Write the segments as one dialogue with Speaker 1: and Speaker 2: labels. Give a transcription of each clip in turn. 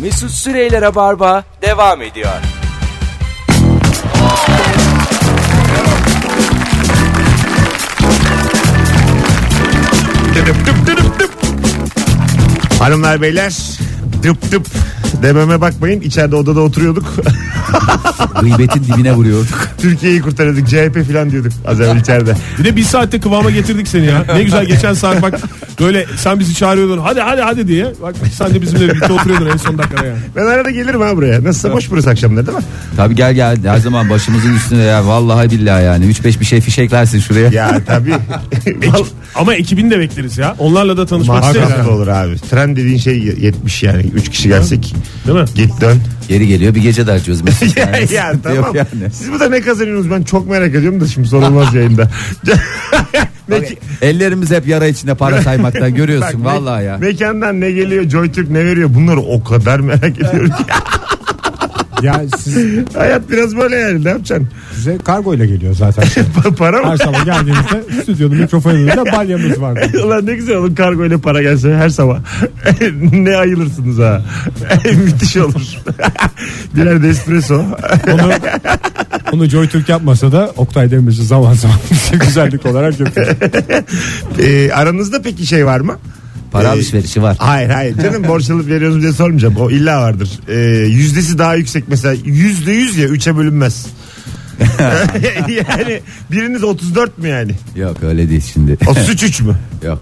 Speaker 1: Mesut Süreyler'e barba devam ediyor.
Speaker 2: Dıp dıp dıp dıp. Hanımlar beyler dıp dıp dememe bakmayın içeride odada oturuyorduk.
Speaker 3: Gıybetin dibine vuruyorduk.
Speaker 2: Türkiye'yi kurtarıyorduk CHP falan diyorduk az evvel içeride.
Speaker 4: Bir de bir saatte kıvama getirdik seni ya. Ne güzel geçen saat bak böyle sen bizi çağırıyordun hadi hadi hadi diye. Bak sen de bizimle birlikte oturuyordun en son dakikada yani.
Speaker 2: Ben arada gelirim ha buraya. Nasılsa boş burası akşamları değil mi?
Speaker 3: Tabii gel gel her zaman başımızın üstüne ya vallahi billahi yani 3-5 bir şey fişeklersin şuraya.
Speaker 2: Ya tabii. Val-
Speaker 4: Ama ekibini de bekleriz ya. Onlarla da tanışmak isteriz.
Speaker 2: Masraf da olur abi. Tren dediğin şey 70 yani. 3 kişi gelsek.
Speaker 4: Değil mi?
Speaker 2: Git dön.
Speaker 3: Geri geliyor bir gece de açıyoruz mesela.
Speaker 2: ya,
Speaker 3: Yani
Speaker 2: ya,
Speaker 3: sıkıntı
Speaker 2: tamam.
Speaker 3: yok yani.
Speaker 2: Siz burada ne kazanıyorsunuz ben çok merak ediyorum da şimdi sorulmaz yayında. ne ki-
Speaker 3: Ellerimiz hep yara içinde para saymaktan
Speaker 2: Bak,
Speaker 3: görüyorsun
Speaker 2: me-
Speaker 3: vallahi ya.
Speaker 2: Mekandan ne geliyor, Joytürk ne veriyor bunları o kadar merak ediyorum ki.
Speaker 5: Ya siz,
Speaker 2: Hayat biraz böyle yani ne yapacaksın?
Speaker 5: size kargoyla geliyor zaten.
Speaker 2: Pa- para mı?
Speaker 5: Her sabah geldiğinizde stüdyonun mikrofonuyla balyamız var.
Speaker 2: Ulan ne güzel olur kargo ile para gelse her sabah. ne ayılırsınız ha. Müthiş olur. Birer de espresso.
Speaker 5: Onu, onu Joy Türk yapmasa da Oktay Demirci zaman zaman bir güzellik olarak yapıyor.
Speaker 2: Ee, aranızda peki şey var mı?
Speaker 3: Para
Speaker 2: Ee,
Speaker 3: alışverişi var.
Speaker 2: Hayır hayır canım borç alıp veriyoruz diye sormayacağım. O illa vardır. Ee, yüzdesi daha yüksek mesela yüzde yüz ya üçe bölünmez. yani biriniz 34 mü yani?
Speaker 3: Yok öyle değil şimdi.
Speaker 2: 33 üç mü?
Speaker 3: Yok.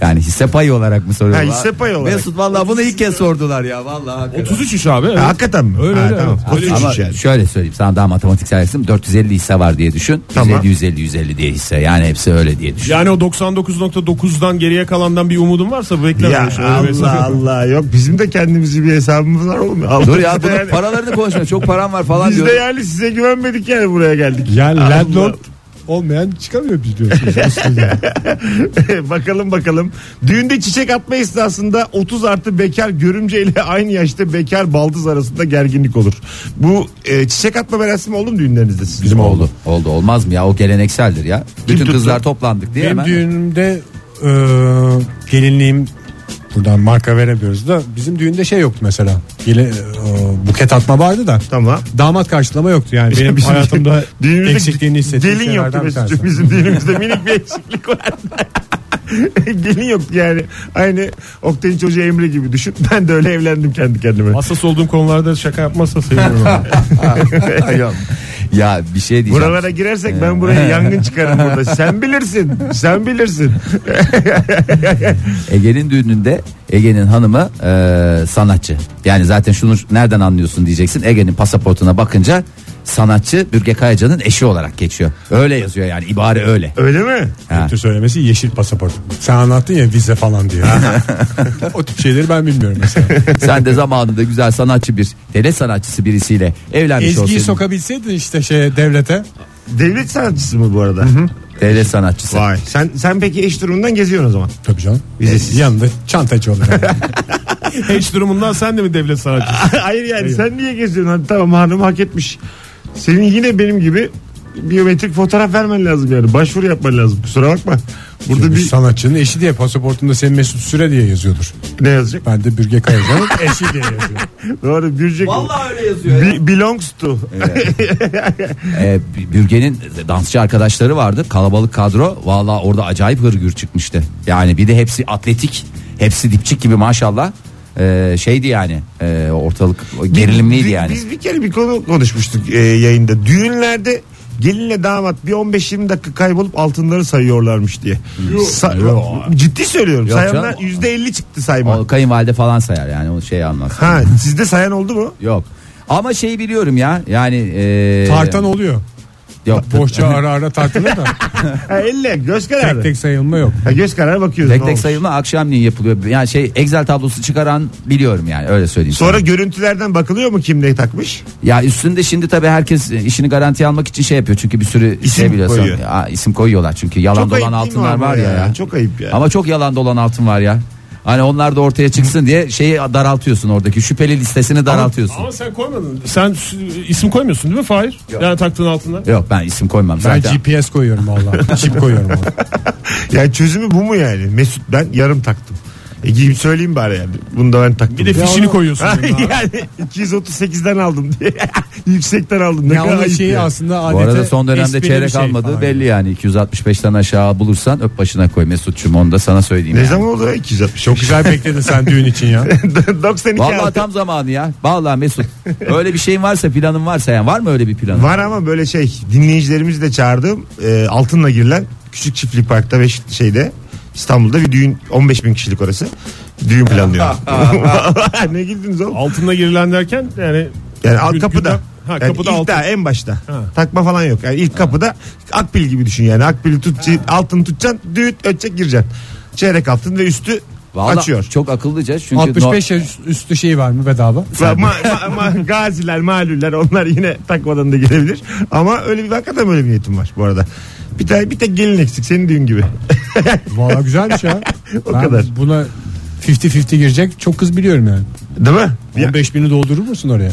Speaker 3: Yani hisse payı olarak mı soruyorlar?
Speaker 2: Ha, hisse payı olarak.
Speaker 3: Mesut vallahi bunu ilk kez sordular ya vallahi. hakikaten.
Speaker 4: 33 iş abi.
Speaker 2: Ha,
Speaker 4: Evet.
Speaker 2: hakikaten mi?
Speaker 4: Öyle,
Speaker 2: Ha,
Speaker 4: öyle,
Speaker 2: tamam.
Speaker 4: evet. Öyle.
Speaker 2: 33
Speaker 3: Ama
Speaker 2: üç yani.
Speaker 3: şöyle söyleyeyim sana daha matematiksel yapsam 450 hisse var diye düşün.
Speaker 2: Tamam.
Speaker 3: 150 150 150 diye hisse yani hepsi öyle diye düşün.
Speaker 4: Yani o 99.9'dan geriye kalandan bir umudun varsa bekleme.
Speaker 2: Ya
Speaker 4: Şöyle bir şey. hesap
Speaker 2: Allah
Speaker 4: yok.
Speaker 2: Allah yok bizim de kendimizi bir hesabımız var oğlum. Allah
Speaker 3: Dur ya bunun
Speaker 2: yani.
Speaker 3: paralarını konuşma çok param var falan
Speaker 2: Biz
Speaker 3: diyor.
Speaker 2: de yani size güvenmedik yani buraya geldik.
Speaker 5: Yani
Speaker 2: Allah.
Speaker 5: landlord olmayan çıkamıyor biliyorsunuz. aslında.
Speaker 2: bakalım bakalım. Düğünde çiçek atma esnasında 30 artı bekar görümce ile aynı yaşta bekar baldız arasında gerginlik olur. Bu e, çiçek atma merasimi oldu mu düğünlerinizde sizin?
Speaker 3: Bizim oldu. Oldu olmaz mı ya o gelenekseldir ya. Bütün
Speaker 2: tuttu?
Speaker 3: kızlar toplandık diye
Speaker 5: Benim
Speaker 3: hemen.
Speaker 5: düğünümde e, gelinliğim buradan marka veremiyoruz da bizim düğünde şey yoktu mesela. Gele, e, buket atma vardı da.
Speaker 2: Tamam.
Speaker 5: Damat karşılama yoktu yani. Benim
Speaker 2: Bizim
Speaker 5: hayatımda
Speaker 2: düğünümüzde
Speaker 5: eksikliğini hissettiğim
Speaker 2: şey Gelin yoktu
Speaker 5: şeylerden bir
Speaker 2: Mesut'cum.
Speaker 5: tanesi.
Speaker 2: Bizim düğünümüzde minik bir eksiklik vardı. gelin yoktu yani. Aynı Oktay'ın çocuğu Emre gibi düşün. Ben de öyle evlendim kendi kendime.
Speaker 4: Hassas olduğum konularda şaka yapmazsa sevinirim. abi.
Speaker 3: Ya bir şey diyeceğim.
Speaker 2: Buralara girersek ben buraya yangın çıkarım burada. Sen bilirsin. Sen bilirsin.
Speaker 3: Ege'nin düğününde Ege'nin hanımı e, sanatçı. Yani zaten şunu nereden anlıyorsun diyeceksin. Ege'nin pasaportuna bakınca sanatçı Bürge Kayacan'ın eşi olarak geçiyor. Öyle yazıyor yani ibare öyle.
Speaker 2: Öyle mi?
Speaker 3: Ha.
Speaker 5: Kötü söylemesi yeşil pasaport. Sen anlattın ya vize falan diye. o tip şeyleri ben bilmiyorum mesela.
Speaker 3: Sen de zamanında güzel sanatçı bir tele sanatçısı birisiyle evlenmiş
Speaker 5: Ezgi'yi
Speaker 3: olsaydın.
Speaker 5: sokabilseydin işte şeye devlete.
Speaker 2: Devlet sanatçısı mı bu arada?
Speaker 3: tele sanatçısı.
Speaker 2: Vay. Sen sen peki eş durumundan geziyorsun o zaman.
Speaker 5: Tabii canım. E,
Speaker 2: Vizesiz.
Speaker 5: Yanında çantacı olur. yani.
Speaker 4: Hiç durumundan sen de mi devlet sanatçısı?
Speaker 2: Hayır yani sen niye geziyorsun? Hadi tamam hanım hak etmiş. Senin yine benim gibi biyometrik fotoğraf vermen lazım yani. Başvuru yapman lazım. Kusura bakma. Burada
Speaker 5: Çünkü
Speaker 2: bir
Speaker 5: sanatçının eşi diye pasaportunda senin Mesut Süre diye yazıyordur.
Speaker 2: ne yazacak?
Speaker 5: Ben de Bürge Kayacan'ın eşi diye yazıyorum.
Speaker 2: Doğru Bürcek.
Speaker 3: Vallahi öyle yazıyor.
Speaker 2: Be- belongs to.
Speaker 3: E, Ee, Bürge'nin dansçı arkadaşları vardı. Kalabalık kadro. Valla orada acayip hırgür çıkmıştı. Yani bir de hepsi atletik. Hepsi dipçik gibi maşallah. Ee, şeydi yani e, ortalık gerilimliydi
Speaker 2: Biz-
Speaker 3: yani.
Speaker 2: Biz bir kere bir konu konuşmuştuk e, yayında. Düğünlerde gelinle damat bir 15-20 dakika kaybolup altınları sayıyorlarmış diye. Sa- Ciddi söylüyorum.
Speaker 3: Yok
Speaker 2: Sayanlar
Speaker 3: canım.
Speaker 2: %50 çıktı sayma.
Speaker 3: O kayınvalide falan sayar yani o şey anlar.
Speaker 2: Ha, sizde sayan oldu mu?
Speaker 3: Yok. Ama şeyi biliyorum ya yani
Speaker 2: Ee,
Speaker 3: e,
Speaker 5: Tartan oluyor.
Speaker 3: yok,
Speaker 5: Bohça ara ara tartılır da
Speaker 2: Ha, elle göz kararı.
Speaker 5: tek tek sayılma yok.
Speaker 2: Ha, göz kararı bakıyoruz.
Speaker 3: tek
Speaker 2: ne
Speaker 3: tek
Speaker 2: olmuş.
Speaker 3: sayılma akşamleyin yapılıyor. Yani şey Excel tablosu çıkaran biliyorum yani öyle söyleyeyim. sana.
Speaker 2: Sonra görüntülerden bakılıyor mu kim ne takmış?
Speaker 3: Ya üstünde şimdi tabii herkes e, işini garantiye almak için şey yapıyor. Çünkü bir sürü
Speaker 2: İsim
Speaker 3: şey biliyorsun.
Speaker 2: koyuyor.
Speaker 3: Ya, isim koyuyorlar çünkü yalan
Speaker 2: Çok ayıp
Speaker 3: dolan
Speaker 2: değil mi
Speaker 3: altınlar
Speaker 2: ama
Speaker 3: var
Speaker 2: ya?
Speaker 3: ya, ya.
Speaker 2: Çok ayıp ya.
Speaker 3: Ama çok yalan dolan altın var ya. Hani onlar da ortaya çıksın diye şeyi daraltıyorsun oradaki şüpheli listesini daraltıyorsun.
Speaker 4: Ama sen koymadın. Sen s- isim koymuyorsun değil mi Fahir? Yani taktığın altında.
Speaker 3: Yok ben isim koymam
Speaker 5: Ben
Speaker 3: zaten.
Speaker 5: GPS koyuyorum valla. Çip koyuyorum. valla.
Speaker 2: Yani çözümü bu mu yani? Mesut ben yarım taktım. E gidip söyleyeyim bari yani. Bunu da ben taktım.
Speaker 4: Bir de fişini koyuyorsun.
Speaker 2: Ha,
Speaker 4: buna.
Speaker 2: yani 238'den aldım diye. Yüksekten aldım. Ne
Speaker 5: Ya
Speaker 2: kadar
Speaker 5: onun
Speaker 2: ayıp
Speaker 5: şeyi
Speaker 2: ya.
Speaker 5: aslında
Speaker 3: Bu
Speaker 5: adeta
Speaker 3: arada son dönemde
Speaker 5: esprili bir
Speaker 3: çeyrek
Speaker 5: şey
Speaker 3: almadığı
Speaker 5: falan.
Speaker 3: belli yani. 265'ten aşağı bulursan öp başına koy Mesut'cum onu da sana söyleyeyim.
Speaker 2: Ne
Speaker 3: yani.
Speaker 2: zaman oldu ya 260?
Speaker 5: Çok güzel bekledin sen düğün için ya.
Speaker 2: 92
Speaker 3: Vallahi
Speaker 2: aldım.
Speaker 3: tam zamanı ya. Vallahi Mesut. öyle bir şeyin varsa planın varsa yani var mı öyle bir planın?
Speaker 2: Var ama böyle şey dinleyicilerimizi de çağırdım. E, altınla girilen küçük çiftlik parkta ve şeyde İstanbul'da bir düğün 15 bin kişilik orası. Düğün planlıyor. ne girdiniz oğlum?
Speaker 4: Altında girilen derken yani
Speaker 2: Yani alt
Speaker 4: Gül-
Speaker 2: kapıda.
Speaker 4: Ha,
Speaker 2: yani
Speaker 4: kapıda
Speaker 2: ilk
Speaker 4: altın.
Speaker 2: daha en başta.
Speaker 4: Ha.
Speaker 2: Takma falan yok. Yani ilk kapıda akbil gibi düşün yani. Akbili tutacaksın, altın tutacaksın, düğüt ötecek gireceksin. Çeyrek altın ve üstü
Speaker 3: Vallahi
Speaker 2: açıyor.
Speaker 3: Çok akıllıca çünkü
Speaker 5: 65 yaş üstü şey var mı bedava?
Speaker 2: Ma- ma- ma- gaziler, malüller onlar yine takmadan da gelebilir. Ama öyle bir hakikaten öyle bir niyetim var bu arada. Bir tane bir tek gelin eksik senin düğün gibi.
Speaker 5: Valla güzelmiş ya.
Speaker 2: O
Speaker 5: Ben
Speaker 2: kadar.
Speaker 5: Buna 50-50 girecek çok kız biliyorum yani.
Speaker 2: Değil mi? Ya-
Speaker 5: 15 bini doldurur musun oraya?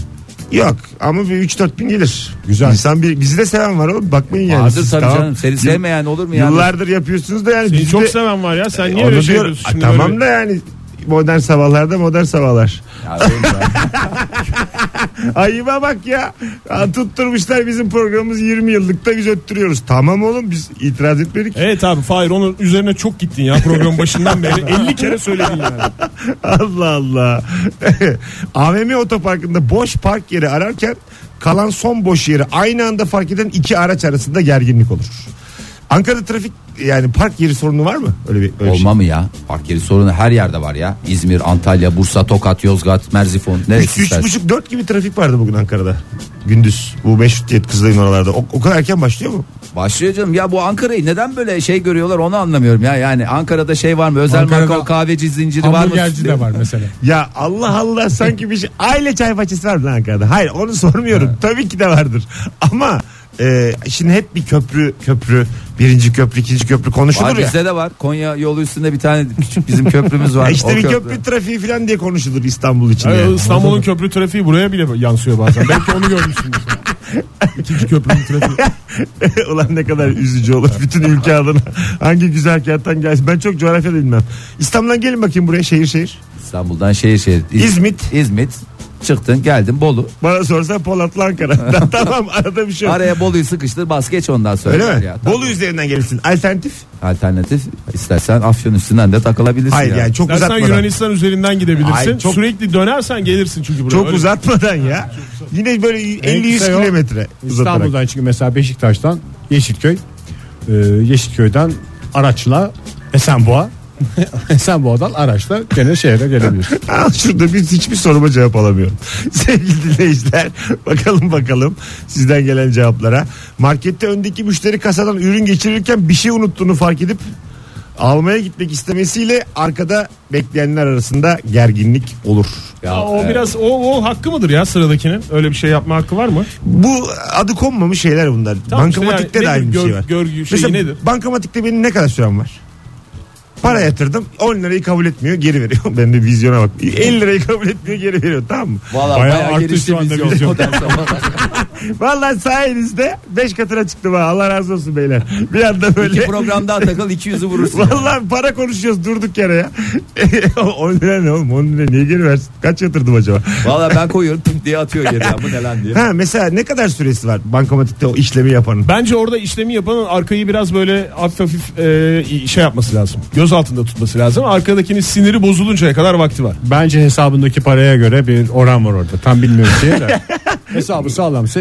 Speaker 2: yok ama bir 3-4 bin gelir.
Speaker 5: Güzel.
Speaker 2: İnsan bir, bizi de seven var oğlum bakmayın yani.
Speaker 3: Vardır
Speaker 2: siz,
Speaker 3: tabii
Speaker 2: tamam.
Speaker 3: canım. Seni sevmeyen olur mu yani?
Speaker 2: Yıllardır yapıyorsunuz da yani.
Speaker 4: seni
Speaker 2: bizi
Speaker 4: E, çok
Speaker 2: de-
Speaker 4: seven var ya. Sen niye
Speaker 2: Onu
Speaker 4: öyle şey
Speaker 2: diyor-
Speaker 4: diyorsun?
Speaker 2: Ay,
Speaker 4: Şimdi
Speaker 2: tamam
Speaker 4: böyle-
Speaker 2: da yani modern sabahlarda modern sabahlar.
Speaker 3: Ya oğlum ya.
Speaker 2: Ayıba bak ya. Ha, Tutturmuşlar bizim programımız 20 yıllıkta biz öttürüyoruz. Tamam oğlum biz itiraz etmedik.
Speaker 4: Evet abi Fahir onun üzerine çok gittin ya programın başından beri. 50 kere söyledin yani.
Speaker 2: Allah Allah. AVM otoparkında boş park yeri ararken kalan son boş yeri aynı anda fark eden iki araç arasında gerginlik olur. Ankara'da trafik yani park yeri sorunu var mı? Öyle bir öyle bir şey.
Speaker 3: Olma mı ya? Park yeri sorunu her yerde var ya. İzmir, Antalya, Bursa, Tokat, Yozgat, Merzifon.
Speaker 2: Üç,
Speaker 3: Neresi
Speaker 2: üç
Speaker 3: istersen.
Speaker 2: buçuk dört gibi trafik vardı bugün Ankara'da. Gündüz bu meşrutiyet kızların oralarda. O, o kadar erken başlıyor mu?
Speaker 3: Başlıyor canım. Ya bu Ankara'yı neden böyle şey görüyorlar onu anlamıyorum ya. Yani Ankara'da şey var mı? Özel
Speaker 5: Ankara'da
Speaker 3: marka kahveci zinciri var mı?
Speaker 5: Hamburgerci de var mesela.
Speaker 2: Ya Allah Allah sanki bir şey. Aile çay bahçesi var mı lan Ankara'da? Hayır onu sormuyorum. Tabii ki de vardır. Ama e, şimdi hep bir köprü köprü birinci köprü ikinci köprü konuşulur
Speaker 3: Var
Speaker 2: ya.
Speaker 3: bizde de var. Konya yolu üstünde bir tane küçük bizim köprümüz var.
Speaker 2: Ya işte
Speaker 3: O
Speaker 2: bir
Speaker 3: köprü-
Speaker 2: köprü, trafiği falan diye konuşulur İstanbul için.
Speaker 4: Yani
Speaker 2: yani.
Speaker 4: İstanbul'un köprü trafiği buraya bile yansıyor bazen. Belki onu görmüşsündür. sen. İkinci köprünün trafiği.
Speaker 2: Ulan ne kadar üzücü olur bütün ülke adına. Hangi güzel kenttan gelsin. Ben çok coğrafya da bilmem. İstanbul'dan gelin bakayım buraya şehir şehir.
Speaker 3: İstanbul'dan şehir şehir. İz-
Speaker 2: İzmit.
Speaker 3: İzmit. Çıktın geldin Bolu.
Speaker 2: Bana sorsan Polatlı Ankara. tamam arada bir şey yok.
Speaker 3: Araya Bolu'yu sıkıştır bas geç ondan sonra.
Speaker 2: Öyle mi?
Speaker 3: Ya, tabii.
Speaker 2: Bolu üzerinden gelirsin. Alternatif?
Speaker 3: Alternatif istersen Afyon üstünden de takılabilirsin.
Speaker 2: Hayır
Speaker 3: ya.
Speaker 2: yani çok
Speaker 4: Dersen
Speaker 2: uzatmadan.
Speaker 4: Yunanistan üzerinden gidebilirsin.
Speaker 2: Ay, çok-
Speaker 4: Sürekli dönersen gelirsin çünkü buraya.
Speaker 2: Çok
Speaker 4: Öyle-
Speaker 2: uzatmadan ya. Yine böyle
Speaker 5: kısa
Speaker 2: 50-100
Speaker 5: yol
Speaker 2: kilometre uzatarak.
Speaker 5: İstanbul'dan çünkü mesela Beşiktaş'tan Yeşilköy. Ee, Yeşilköy'den araçla Esenboğa. Esenboğa'dan araçla gene şehre gelebilirsin.
Speaker 2: Al şurada biz hiçbir soruma cevap alamıyorum. Sevgili dinleyiciler bakalım bakalım sizden gelen cevaplara. Markette öndeki müşteri kasadan ürün geçirirken bir şey unuttuğunu fark edip almaya gitmek istemesiyle arkada bekleyenler arasında gerginlik olur.
Speaker 3: Ya,
Speaker 4: Aa, o
Speaker 3: evet.
Speaker 4: biraz o, o hakkı mıdır ya sıradakinin? Öyle bir şey yapma hakkı var mı?
Speaker 2: Bu adı konmamış şeyler bunlar.
Speaker 4: Tamam işte
Speaker 2: bankamatikte
Speaker 4: yani
Speaker 2: de aynı
Speaker 4: nedir
Speaker 2: bir
Speaker 4: gör-
Speaker 2: şey var.
Speaker 4: görgü şeyi
Speaker 2: Mesela
Speaker 4: nedir?
Speaker 2: bankamatikte benim ne kadar sürem var? Para yatırdım 10 lirayı kabul etmiyor geri veriyor. Ben de vizyona bak. 50 lirayı kabul etmiyor geri veriyor tamam mı?
Speaker 3: Valla
Speaker 5: Bayağı
Speaker 3: bayağı,
Speaker 5: arttı şu
Speaker 3: gelişti
Speaker 5: anda
Speaker 3: vizyon.
Speaker 5: vizyon.
Speaker 3: Ondan sonra-
Speaker 2: Vallahi sayenizde 5 katına çıktım ha. Allah razı olsun beyler. Bir anda
Speaker 3: İki
Speaker 2: böyle.
Speaker 3: program daha takıl 200'ü vurursun.
Speaker 2: Vallahi para konuşuyoruz durduk yere ya. 10 lira ne oğlum? 10 lira niye geri versin? Kaç yatırdım acaba?
Speaker 3: Valla ben koyuyorum pink diye atıyor geri ya bu ne lan diye.
Speaker 2: Ha mesela ne kadar süresi var bankamatikte o işlemi yapanın?
Speaker 4: Bence orada işlemi yapanın arkayı biraz böyle hafif hafif e, şey yapması lazım. Göz altında tutması lazım. Arkadakinin siniri bozuluncaya kadar vakti var.
Speaker 5: Bence hesabındaki paraya göre bir oran var orada. Tam bilmiyorum şey de. Hesabı sağlamsa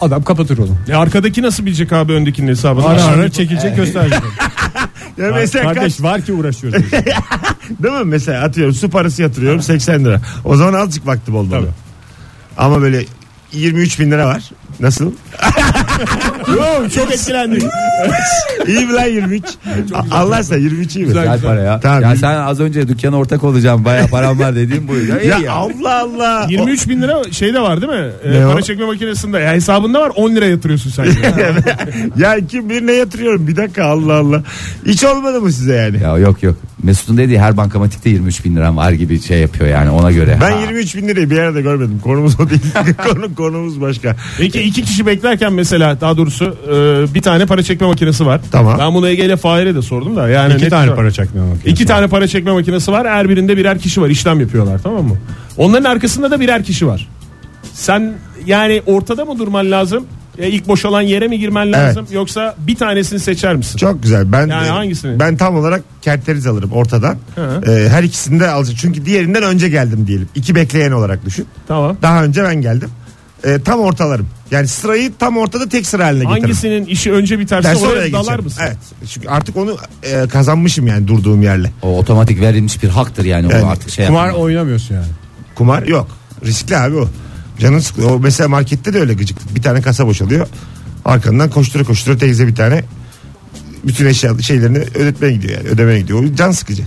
Speaker 5: adam kapatır onu.
Speaker 4: E, arkadaki nasıl bilecek abi öndekinin hesabını?
Speaker 5: Ara
Speaker 4: Aşağı-
Speaker 5: ara çekilecek gösterecek.
Speaker 2: Ya mesela kaç
Speaker 5: Kardeş var ki uğraşıyoruz.
Speaker 2: Değil mi? Mesela atıyorum su parası yatırıyorum 80 lira. O zaman azıcık vaktim oldu. Ama böyle 23 bin lira var. Nasıl?
Speaker 4: Çok etkilendim.
Speaker 2: İyi mi lan 23? Allah sen 23 iyi mi?
Speaker 3: Gel para ya.
Speaker 2: Tamam.
Speaker 3: ya sen az önce dükkana ortak olacağım baya param var dediğim bu. Ya, iyi
Speaker 2: Ya,
Speaker 3: ya,
Speaker 2: Allah Allah.
Speaker 4: 23 bin lira şeyde var değil mi? E,
Speaker 2: Ne o?
Speaker 4: para çekme makinesinde. Ya, hesabında var 10 lira yatırıyorsun sen. yine.
Speaker 2: ya kim bilir ne yatırıyorum bir dakika Allah Allah. Hiç olmadı mı size yani?
Speaker 3: Ya yok yok. Mesut'un dediği her bankamatikte 23 bin liram var gibi şey yapıyor yani ona göre.
Speaker 2: Ben
Speaker 3: Ha.
Speaker 2: 23 bin lirayı bir yerde görmedim. Konumuz o değil. Konu, konumuz başka.
Speaker 4: Peki iki kişi beklerken mesela daha doğrusu e, bir tane para çekme makinesi var.
Speaker 2: Tamam.
Speaker 4: Ben bunu Ege ile Fahir'e de sordum da. Yani
Speaker 5: İki
Speaker 4: net
Speaker 5: tane
Speaker 4: şu an-
Speaker 5: para çekme makinesi.
Speaker 4: İki tane para çekme makinesi var. Her birinde birer kişi var. İşlem yapıyorlar tamam mı? Onların arkasında da birer kişi var. Sen yani ortada mı durman lazım? E, ilk boşalan yere mi girmen lazım? Yoksa bir tanesini seçer misin?
Speaker 2: Çok güzel. Ben e,
Speaker 4: Yani hangisini?
Speaker 2: ben tam olarak kerteriz alırım ortadan.
Speaker 4: Hı.
Speaker 2: Ee, her ikisini de alacağım. Çünkü diğerinden önce geldim diyelim. İki bekleyen olarak düşün.
Speaker 4: Tamam.
Speaker 2: Daha önce ben geldim. Ee, tam ortalarım. Yani sırayı tam ortada tek sıra haline getiririm.
Speaker 4: Hangisinin işi önce biterse
Speaker 2: Dersi
Speaker 4: oraya,
Speaker 2: oraya
Speaker 4: dalar
Speaker 2: geçerim.
Speaker 4: mısın?
Speaker 2: Evet. Çünkü artık onu e, kazanmışım yani durduğum yerle.
Speaker 3: O otomatik verilmiş bir haktır yani,
Speaker 2: Yani
Speaker 3: o artık şey
Speaker 5: Kumar
Speaker 3: yapmıyor.
Speaker 5: oynamıyorsun yani.
Speaker 2: Kumar yok. Riskli abi o. Canın sıkılıyor. O mesela markette de öyle gıcıklık. Bir tane kasa boşalıyor. Arkandan koştura koştura teyze bir tane bütün eşya şeylerini ödetmeye gidiyor yani. Ödemeye gidiyor. O can sıkıcı.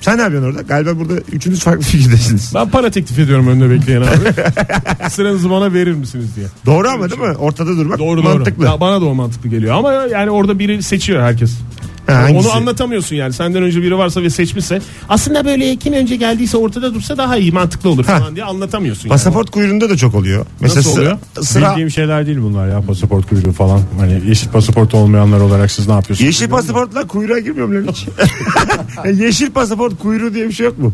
Speaker 2: Sen ne yapıyorsun orada? Galiba burada üçünüz farklı fikirdesiniz.
Speaker 4: Ben para teklif ediyorum önüne bekleyen abi. Sıranızı bana verir misiniz diye.
Speaker 2: Doğru ama değil mi? Ortada durmak
Speaker 4: Doğru doğru.
Speaker 2: mantıklı.
Speaker 4: Ya bana da o mantıklı geliyor ama yani orada biri seçiyor herkes.
Speaker 2: Ha, hangisi?
Speaker 4: Onu anlatamıyorsun yani. Senden önce biri varsa ve seçmişse aslında böyle kim önce geldiyse ortada dursa daha iyi mantıklı olur
Speaker 2: Ha.
Speaker 4: falan diye anlatamıyorsun.
Speaker 2: Pasaport kuyruğunda da çok oluyor. Mesela
Speaker 4: Nasıl
Speaker 2: sı-
Speaker 4: oluyor?
Speaker 2: sıra
Speaker 5: Bildiğim şeyler değil bunlar ya pasaport kuyruğu falan. Hani yeşil pasaport olmayanlar olarak siz ne yapıyorsunuz?
Speaker 2: Yeşil pasaportla kuyruğa girmiyorum lan hiç. Yeşil pasaport kuyruğu diye bir şey yok mu?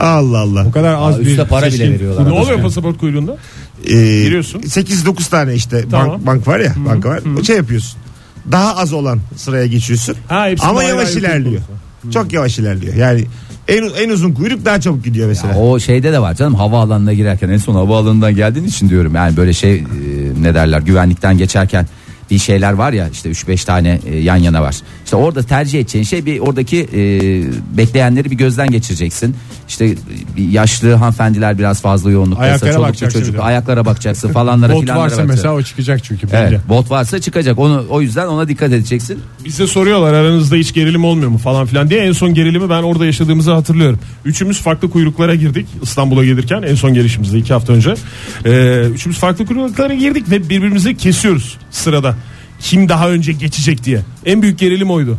Speaker 2: Allah Allah.
Speaker 5: Bu kadar az
Speaker 3: Aa,
Speaker 5: bir
Speaker 3: üstüne para bile
Speaker 5: seçkin-
Speaker 3: veriyorlar.
Speaker 4: yani. Ne oluyor pasaport kuyruğunda?
Speaker 2: Ee,
Speaker 4: Giriyorsun.
Speaker 2: 8-9 tane işte
Speaker 4: Tamam.
Speaker 2: bank, bank var ya banka var. O şey yapıyorsun. Daha az olan sıraya geçiyorsun.
Speaker 4: Ha, hepsini
Speaker 2: Ama
Speaker 4: ayrı
Speaker 2: yavaş
Speaker 4: ayrı
Speaker 2: ilerliyor. Çok yavaş ilerliyor. Yani en en uzun kuyruk daha çabuk gidiyor mesela.
Speaker 3: O şeyde de var canım havaalanına girerken en son havaalanından geldiğin için diyorum yani böyle şey e, ne derler güvenlikten geçerken bir şeyler var ya işte 3-5 tane e, yan yana var. İşte orada tercih edeceğin şey bir oradaki e, bekleyenleri bir gözden geçireceksin. İşte e, bir yaşlı hanımefendiler biraz fazla yoğunluktaysa
Speaker 5: Ayaklara
Speaker 3: çoluklu
Speaker 5: bakacaksın bir
Speaker 3: çocuk
Speaker 5: de.
Speaker 3: ayaklara bakacaksın falanlara
Speaker 5: Bot
Speaker 3: filanlara
Speaker 5: varsa
Speaker 3: bakacaksın.
Speaker 5: mesela o çıkacak çünkü bence.
Speaker 3: Evet, bot varsa çıkacak onu o yüzden ona dikkat edeceksin.
Speaker 4: Bize soruyorlar aranızda hiç gerilim olmuyor mu falan filan diye. En son gerilimi ben orada yaşadığımızı hatırlıyorum. Üçümüz farklı kuyruklara girdik İstanbul'a gelirken en son gelişimizde iki hafta önce. Ee, üçümüz farklı kuyruklara girdik ve birbirimizi kesiyoruz sırada. Kim daha önce geçecek diye. En büyük gerilim oydu.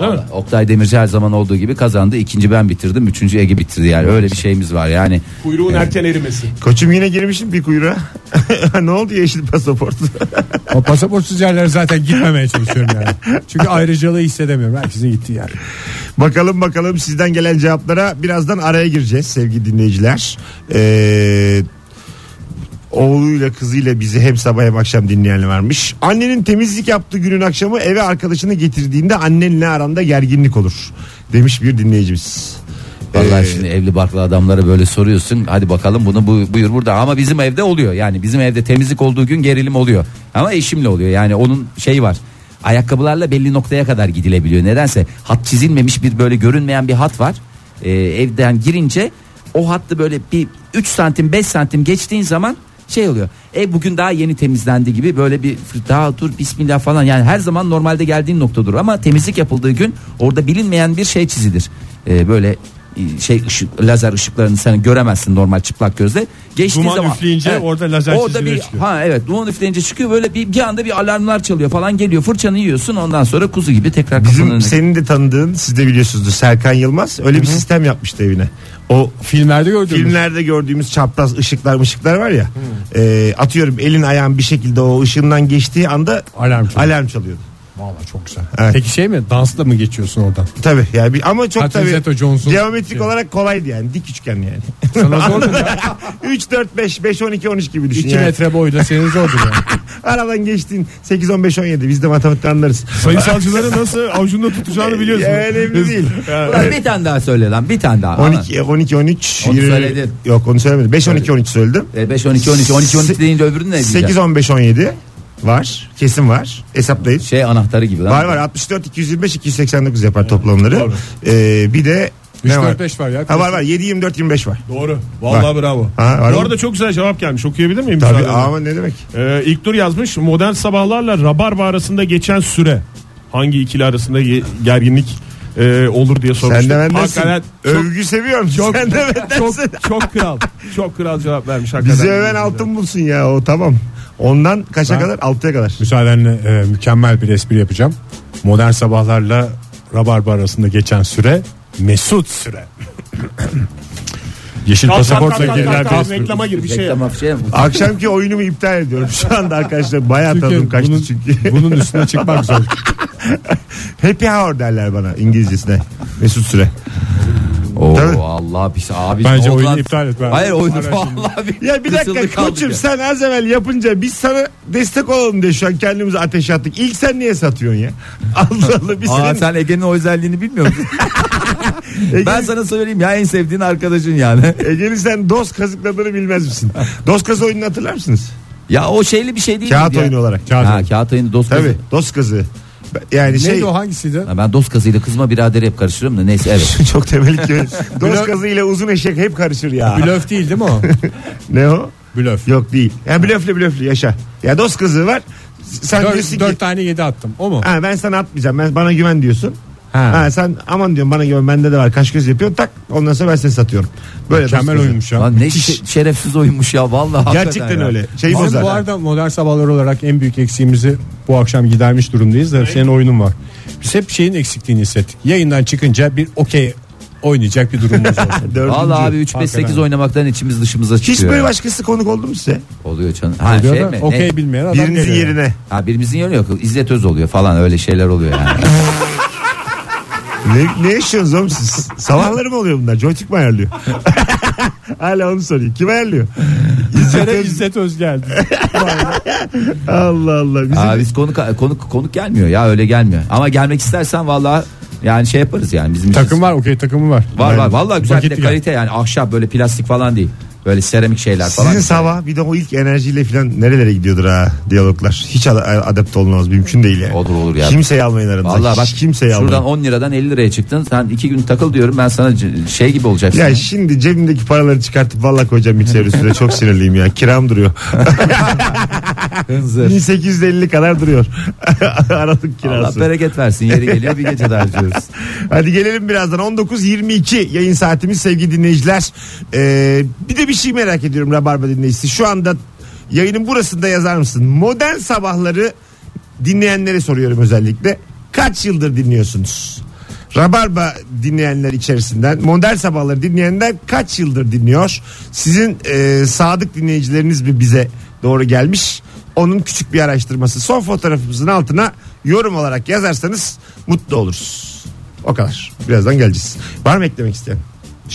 Speaker 4: Değil mi?
Speaker 3: Vallahi Oktay Demirci her zaman olduğu gibi kazandı. İkinci ben bitirdim. Üçüncü Ege bitirdi yani. Öyle bir şeyimiz var yani.
Speaker 4: Kuyruğun erken erimesi.
Speaker 2: Koçum yine girmişim bir kuyruğa. ne oldu yeşil pasaport?
Speaker 5: O pasaportsuz yerlere zaten gitmemeye çalışıyorum yani. Çünkü ayrıcalığı hissedemiyorum. Herkesin gittiği yer.
Speaker 2: bakalım bakalım sizden gelen cevaplara birazdan araya gireceğiz sevgili dinleyiciler. Ee, oğluyla kızıyla bizi hem sabah hem akşam dinleyen varmış. Annenin temizlik yaptığı günün akşamı eve arkadaşını getirdiğinde annenle aranda gerginlik olur demiş bir dinleyicimiz.
Speaker 3: Vallahi
Speaker 2: Ee,
Speaker 3: şimdi evli barklı adamlara böyle soruyorsun. Hadi bakalım bunu bu, buyur burada. Ama bizim evde oluyor. Yani bizim evde temizlik olduğu gün gerilim oluyor. Ama eşimle oluyor. Yani onun şeyi var. Ayakkabılarla belli noktaya kadar gidilebiliyor. Nedense hat çizilmemiş bir böyle görünmeyen bir hat var. Ee, evden girince o hattı böyle bir 3 santim 5 santim geçtiğin zaman şey oluyor. E bugün daha yeni temizlendi gibi böyle bir fır- daha dur bismillah falan yani her zaman normalde geldiğin noktadır ama temizlik yapıldığı gün orada bilinmeyen bir şey çizilir. Ee, böyle şey ışık lazer ışıklarını sen göremezsin normal çıplak gözle. Geçtiği
Speaker 5: Duman
Speaker 3: zaman
Speaker 5: üfleyince orada lazer
Speaker 3: orada
Speaker 5: çizgileri
Speaker 3: bir,
Speaker 5: çıkıyor.
Speaker 3: Ha evet duman üfleyince çıkıyor böyle bir, bir anda bir alarmlar çalıyor falan geliyor. Fırçanı yiyorsun ondan sonra kuzu gibi tekrar
Speaker 2: Bizim
Speaker 3: kafanın
Speaker 2: senin de tanıdığın siz de biliyorsunuzdur Serkan Yılmaz öyle bir sistem yapmıştı evine. O
Speaker 5: Filmlerde gördüğümüz.
Speaker 2: filmlerde gördüğümüz çapraz ışıklar ışıklar var ya. e, atıyorum elin ayağın bir şekilde o ışığından geçtiği anda
Speaker 5: Alarm çalıyor.
Speaker 2: alarm çalıyordu.
Speaker 5: Vallahi çok güzel.
Speaker 2: Evet.
Speaker 5: Peki şey mi? Dansla mı geçiyorsun oradan?
Speaker 2: Tabii yani bir, ama çok
Speaker 5: Catherine
Speaker 2: tabii
Speaker 5: Zeta-Jones'un
Speaker 2: geometrik
Speaker 5: şey.
Speaker 2: olarak kolaydı yani dik üçgen yani.
Speaker 5: Sana zor mu ya?
Speaker 2: 3 4 5 5 12 13 gibi düşün
Speaker 5: 2
Speaker 2: yani.
Speaker 5: metre boyda senin zordur yani.
Speaker 2: Aradan geçtiğin 8 15 17 biz de matematikten anlarız. Ee,
Speaker 4: Sayısalcıları nasıl avucunda tutacağını biliyorsun.
Speaker 2: Ya, önemli değil.
Speaker 3: Ulan bir tane daha söyle lan bir tane daha.
Speaker 2: 12 12 13
Speaker 3: Onu
Speaker 2: 20
Speaker 3: söyledin.
Speaker 2: Yok onu söylemedim. 5 12 13 söyledim.
Speaker 3: 5 12 12 12 12 deyince öbürünü ne
Speaker 2: 8
Speaker 3: diyeceğim?
Speaker 2: 15 17 var. Kesin var. Hesaplayın.
Speaker 3: Şey anahtarı gibi lan.
Speaker 2: Var var 64 225 289 yapar toplamları. Ee, bir de
Speaker 5: 3
Speaker 2: ne
Speaker 5: 4 5 var ya.
Speaker 2: Ha var var 7 24 25 var.
Speaker 4: Doğru. Vallahi
Speaker 2: Bak.
Speaker 4: bravo.
Speaker 2: Ha, var
Speaker 4: Bu
Speaker 2: mı?
Speaker 4: arada çok güzel cevap gelmiş. Okuyabilir miyim?
Speaker 2: Tabii
Speaker 4: müsaadenle?
Speaker 2: ama ne demek?
Speaker 4: Ee, ilk dur yazmış. Modern sabahlarla rabarba arasında geçen süre hangi ikili arasında ge- gerginlik e, olur diye sormuş.
Speaker 2: Sen de bendensin.
Speaker 4: Hakikaten çok,
Speaker 2: Övgü seviyorum.
Speaker 4: çok,
Speaker 2: Sen de bendensin.
Speaker 4: çok, çok kral. Çok kral cevap vermiş hakikaten.
Speaker 2: Bizi öven altın bulsun ya o tamam. Ondan kaça kadar? Altıya kadar.
Speaker 5: Müsaadenle e, mükemmel bir espri yapacağım. Modern sabahlarla Rabarba arasında geçen süre Mesut süre. Yeşil
Speaker 4: Kalk,
Speaker 5: pasaportla
Speaker 4: kalk, kalk,
Speaker 5: girilen
Speaker 4: kalk, kalk,
Speaker 5: Facebook.
Speaker 4: Reklama gir bir şey. yap.
Speaker 3: Reklama şey mi?
Speaker 2: Akşamki oyunumu iptal ediyorum şu anda arkadaşlar. Bayağı
Speaker 5: Çünkü
Speaker 2: tadım kaçtı
Speaker 5: bunun-
Speaker 2: çünkü.
Speaker 5: Bunun üstüne çıkmak zor.
Speaker 2: Happy hour derler bana İngilizcesine. Mesut Süre.
Speaker 3: Oo
Speaker 2: Tabii.
Speaker 3: Allah bir şey abi.
Speaker 5: Bence
Speaker 3: ne oldu
Speaker 5: oyunu
Speaker 3: lan?
Speaker 5: iptal et. Ben-
Speaker 3: Hayır oyunu
Speaker 5: Ara şimdi.
Speaker 3: vallahi bir
Speaker 2: Ya bir
Speaker 3: kısıldı
Speaker 2: dakika
Speaker 3: kaldı
Speaker 2: koçum
Speaker 3: ya.
Speaker 2: sen az evvel yapınca biz sana destek olalım diye şu an kendimizi ateş attık. İlk sen niye satıyorsun ya? Allah Allah biz
Speaker 3: Aa,
Speaker 2: senin
Speaker 3: sen Ege'nin o özelliğini bilmiyor musun?
Speaker 2: Ege'nin-
Speaker 3: ben sana söyleyeyim ya en sevdiğin arkadaşın yani.
Speaker 2: Ege'nin sen dost kazıkladığını bilmez misin? dost kazı oyununu hatırlar mısınız?
Speaker 3: Ya o şeyli bir şey değil
Speaker 2: Kağıt
Speaker 3: miydi ya?
Speaker 2: oyunu olarak.
Speaker 5: Kağıt
Speaker 3: Ha
Speaker 5: oyunu.
Speaker 3: kağıt oyunu dost
Speaker 2: Tabii
Speaker 3: kazı.
Speaker 2: dost kazı. Yani şey
Speaker 5: Neydi o hangisiydi?
Speaker 3: Ya Ben dost kazıyla kızma biraderi hep karıştırırım da neyse evet.
Speaker 2: çok temel ki dost
Speaker 5: Blöf-
Speaker 2: kazı ile uzun eşek hep karışır ya.
Speaker 5: Blöf değil değil mi o?
Speaker 2: ne o?
Speaker 5: Blöf.
Speaker 2: Yok değil. Ya blöfle blöfle yaşa. Ya dost kızı var. Sen diyorsun
Speaker 5: Dört,
Speaker 2: ki
Speaker 5: dört tane yedi attım. O mu?
Speaker 2: ha, ben sana atmayacağım. Ben, bana güven diyorsun. Ha.
Speaker 5: Ha.
Speaker 2: sen aman diyorum bana güven bende de var. Kaş göz yapıyorsun tak. Ondan sonra ben seni satıyorum. Böyle dost
Speaker 5: Mükemmel
Speaker 2: kızı.
Speaker 5: oyunmuş ya.
Speaker 3: Lan ne şe- şerefsiz oyunmuş ya vallahi. hakikaten
Speaker 2: Gerçekten
Speaker 3: ya.
Speaker 2: öyle. Şey
Speaker 5: Bizim
Speaker 2: bozar.
Speaker 5: bu arada modern sabahlar olarak en büyük eksiğimizi bu akşam gidermiş durumdayız da senin oyunun var. Biz hep şeyin eksikliğini hissettik. Yayından çıkınca bir okey oynayacak bir durumumuz olsun.
Speaker 2: Dördüncü.
Speaker 3: Vallahi abi 3 5
Speaker 5: Hakikaten.
Speaker 3: 8 oynamaktan içimiz dışımıza çıkıyor.
Speaker 2: Hiç böyle
Speaker 3: ya.
Speaker 2: başkası konuk oldu mu size?
Speaker 3: oluyor canım. Ha
Speaker 5: Diyor
Speaker 3: şey
Speaker 5: da
Speaker 3: mi? Ne?
Speaker 5: Okey bilmeyen adam
Speaker 2: Birinizin
Speaker 5: geliyor.
Speaker 2: yerine.
Speaker 3: Ha birimizin yeri yok. İzzet Öz oluyor falan öyle şeyler oluyor yani.
Speaker 2: Ne, ne yaşıyorsunuz oğlum siz? Sabahları mı oluyor bunlar? Joystick mi ayarlıyor? Hala onu soruyor. Kim ayarlıyor?
Speaker 5: Bir kere İzzet Öz geldi.
Speaker 2: Allah Allah. Bizim
Speaker 3: Aa, biz konuk, konuk, konuk gelmiyor ya öyle gelmiyor. Ama gelmek istersen vallahi yani şey yaparız yani bizim için-
Speaker 5: Takım var okey takımı var.
Speaker 3: Var var
Speaker 5: Yani
Speaker 3: vallahi güzel bir de
Speaker 5: paketli geldi.
Speaker 3: kalite yani ahşap böyle plastik falan değil. Böyle seramik şeyler falan.
Speaker 2: Sizin sabah bir de o ilk enerjiyle falan nerelere gidiyordur ha diyaloglar. Hiç ad- adapte olmaz mümkün değil yani.
Speaker 3: Olur, olur ya.
Speaker 2: Kimseyi almayın aranıza.
Speaker 3: Vallahi bak
Speaker 2: Hiç kimseyi
Speaker 3: şuradan
Speaker 2: almayın.
Speaker 3: 10 liradan 50 liraya çıktın. Sen iki gün takıl diyorum ben sana c- şey gibi olacaksın.
Speaker 2: Ya şimdi cebimdeki paraları çıkartıp valla koyacağım mikser üstüne çok sinirliyim ya. Kiram duruyor.
Speaker 3: Hınzır.
Speaker 2: 1850 kadar duruyor. Aralık
Speaker 3: Allah
Speaker 2: kirası.
Speaker 3: bereket versin yeri geliyor bir gece de harcıyoruz.
Speaker 2: Hadi gelelim birazdan 19.22 yayın saatimiz sevgili dinleyiciler. Ee, bir de bir şey merak ediyorum Rabarba dinleyicisi. Şu anda yayının burasında yazar mısın? Modern sabahları dinleyenlere soruyorum özellikle. Kaç yıldır dinliyorsunuz? Rabarba dinleyenler içerisinden modern sabahları dinleyenler kaç yıldır dinliyor? Sizin e, sadık dinleyicileriniz mi bize doğru gelmiş? Onun küçük bir araştırması. Son fotoğrafımızın altına yorum olarak yazarsanız mutlu oluruz. O kadar. Birazdan geleceğiz. Var mı eklemek isteyen?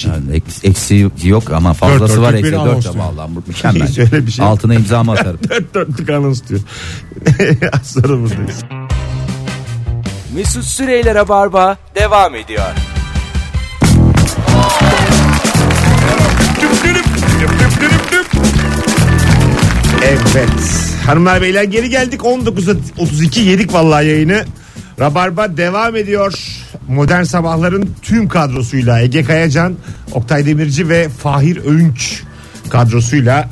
Speaker 3: Yani eks- eksiği yok ama fazlası
Speaker 5: dörtlük
Speaker 3: var
Speaker 5: bir
Speaker 3: eksiği
Speaker 5: anons
Speaker 3: dört ama
Speaker 5: diyor.
Speaker 3: Allah'ım bu mükemmel.
Speaker 2: Hiç öyle bir şey yok.
Speaker 3: Altına imzamı atarım.
Speaker 2: Dört dörtlük anons diyor. Az sonra buradayız.
Speaker 1: Mesut Süreyler'e barba devam ediyor.
Speaker 2: Evet. Hanımlar beyler geri geldik. 19.32 yedik vallahi yayını. Rabarba devam ediyor. Modern sabahların tüm kadrosuyla Ege Kayacan, Oktay Demirci ve Fahir Öğünç kadrosuyla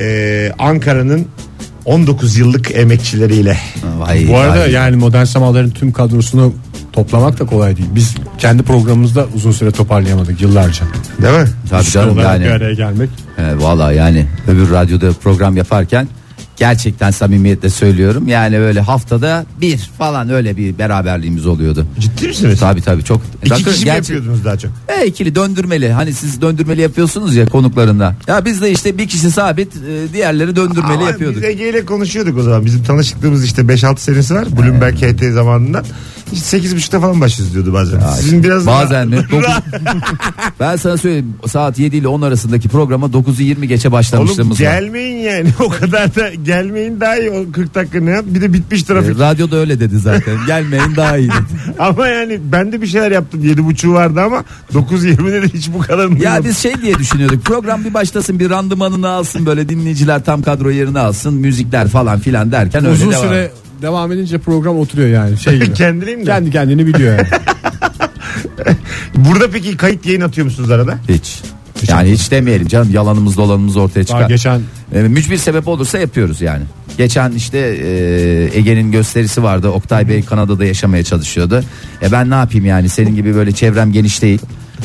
Speaker 2: e, Ankara'nın 19 yıllık emekçileriyle.
Speaker 3: Vay,
Speaker 5: Bu arada
Speaker 3: vay.
Speaker 5: yani modern sabahların tüm kadrosunu toplamak da kolay değil. Biz kendi programımızda uzun süre toparlayamadık yıllarca.
Speaker 2: Değil mi?
Speaker 3: Tabii canım
Speaker 5: Olarak bir
Speaker 3: yani.
Speaker 5: araya gelmek.
Speaker 3: E, Valla yani öbür radyoda program yaparken gerçekten samimiyetle söylüyorum. Yani böyle haftada bir falan öyle bir beraberliğimiz oluyordu.
Speaker 2: Ciddi misiniz?
Speaker 3: Tabii tabii çok.
Speaker 2: İki kişi mi
Speaker 3: Gerçi-
Speaker 2: yapıyordunuz daha çok?
Speaker 3: E, ikili döndürmeli. Hani siz döndürmeli yapıyorsunuz ya konuklarında. Ya biz de işte bir kişi sabit, e, diğerleri döndürmeli
Speaker 2: Ama
Speaker 3: yapıyorduk.
Speaker 2: Biz Ege ile konuşuyorduk o zaman. Bizim tanışıklığımız işte 5-6 senesi var. Bloomberg HT zamanından. İşte 8.30'da falan başlıyoruz diyordu bazen. Sizin biraz daha-
Speaker 3: Bazen mi? Dokuz- ben sana söyleyeyim saat 7 ile 10 arasındaki programa 9'u 20 geçe
Speaker 2: Oğlum
Speaker 3: başlamışlığımız var.
Speaker 2: gelmeyin yani o kadar da gelmeyin daha iyi o 40 dakika ne yap bir de bitmiş
Speaker 3: E,
Speaker 2: trafik
Speaker 3: Radyoda öyle dedi zaten. Gelmeyin daha iyi dedi.
Speaker 2: ama yani ben de bir şeyler yaptım 7.30 vardı ama 9.20'de de hiç bu kadar
Speaker 3: Ya
Speaker 2: ya
Speaker 3: biz şey diye düşünüyorduk. Program bir başlasın bir randımanını alsın böyle dinleyiciler tam kadro yerini alsın. Müzikler falan filan derken öyle
Speaker 5: uzun
Speaker 3: devam.
Speaker 5: süre devam edince program oturuyor yani şey gibi.
Speaker 2: Kendiliğinden.
Speaker 5: Kendi kendini biliyor yani.
Speaker 2: Burada peki kayıt yayın atıyor musunuz arada?
Speaker 3: Hiç. Yani hiç demeyelim canım yalanımız dolanımız ortaya
Speaker 5: Daha
Speaker 3: çıkar.
Speaker 5: geçen
Speaker 3: E, mücbir sebep olursa yapıyoruz yani. Geçen işte e, Ege'nin gösterisi vardı. Oktay Bey Kanada'da yaşamaya çalışıyordu. E ben ne yapayım yani senin gibi böyle çevrem geniş değil.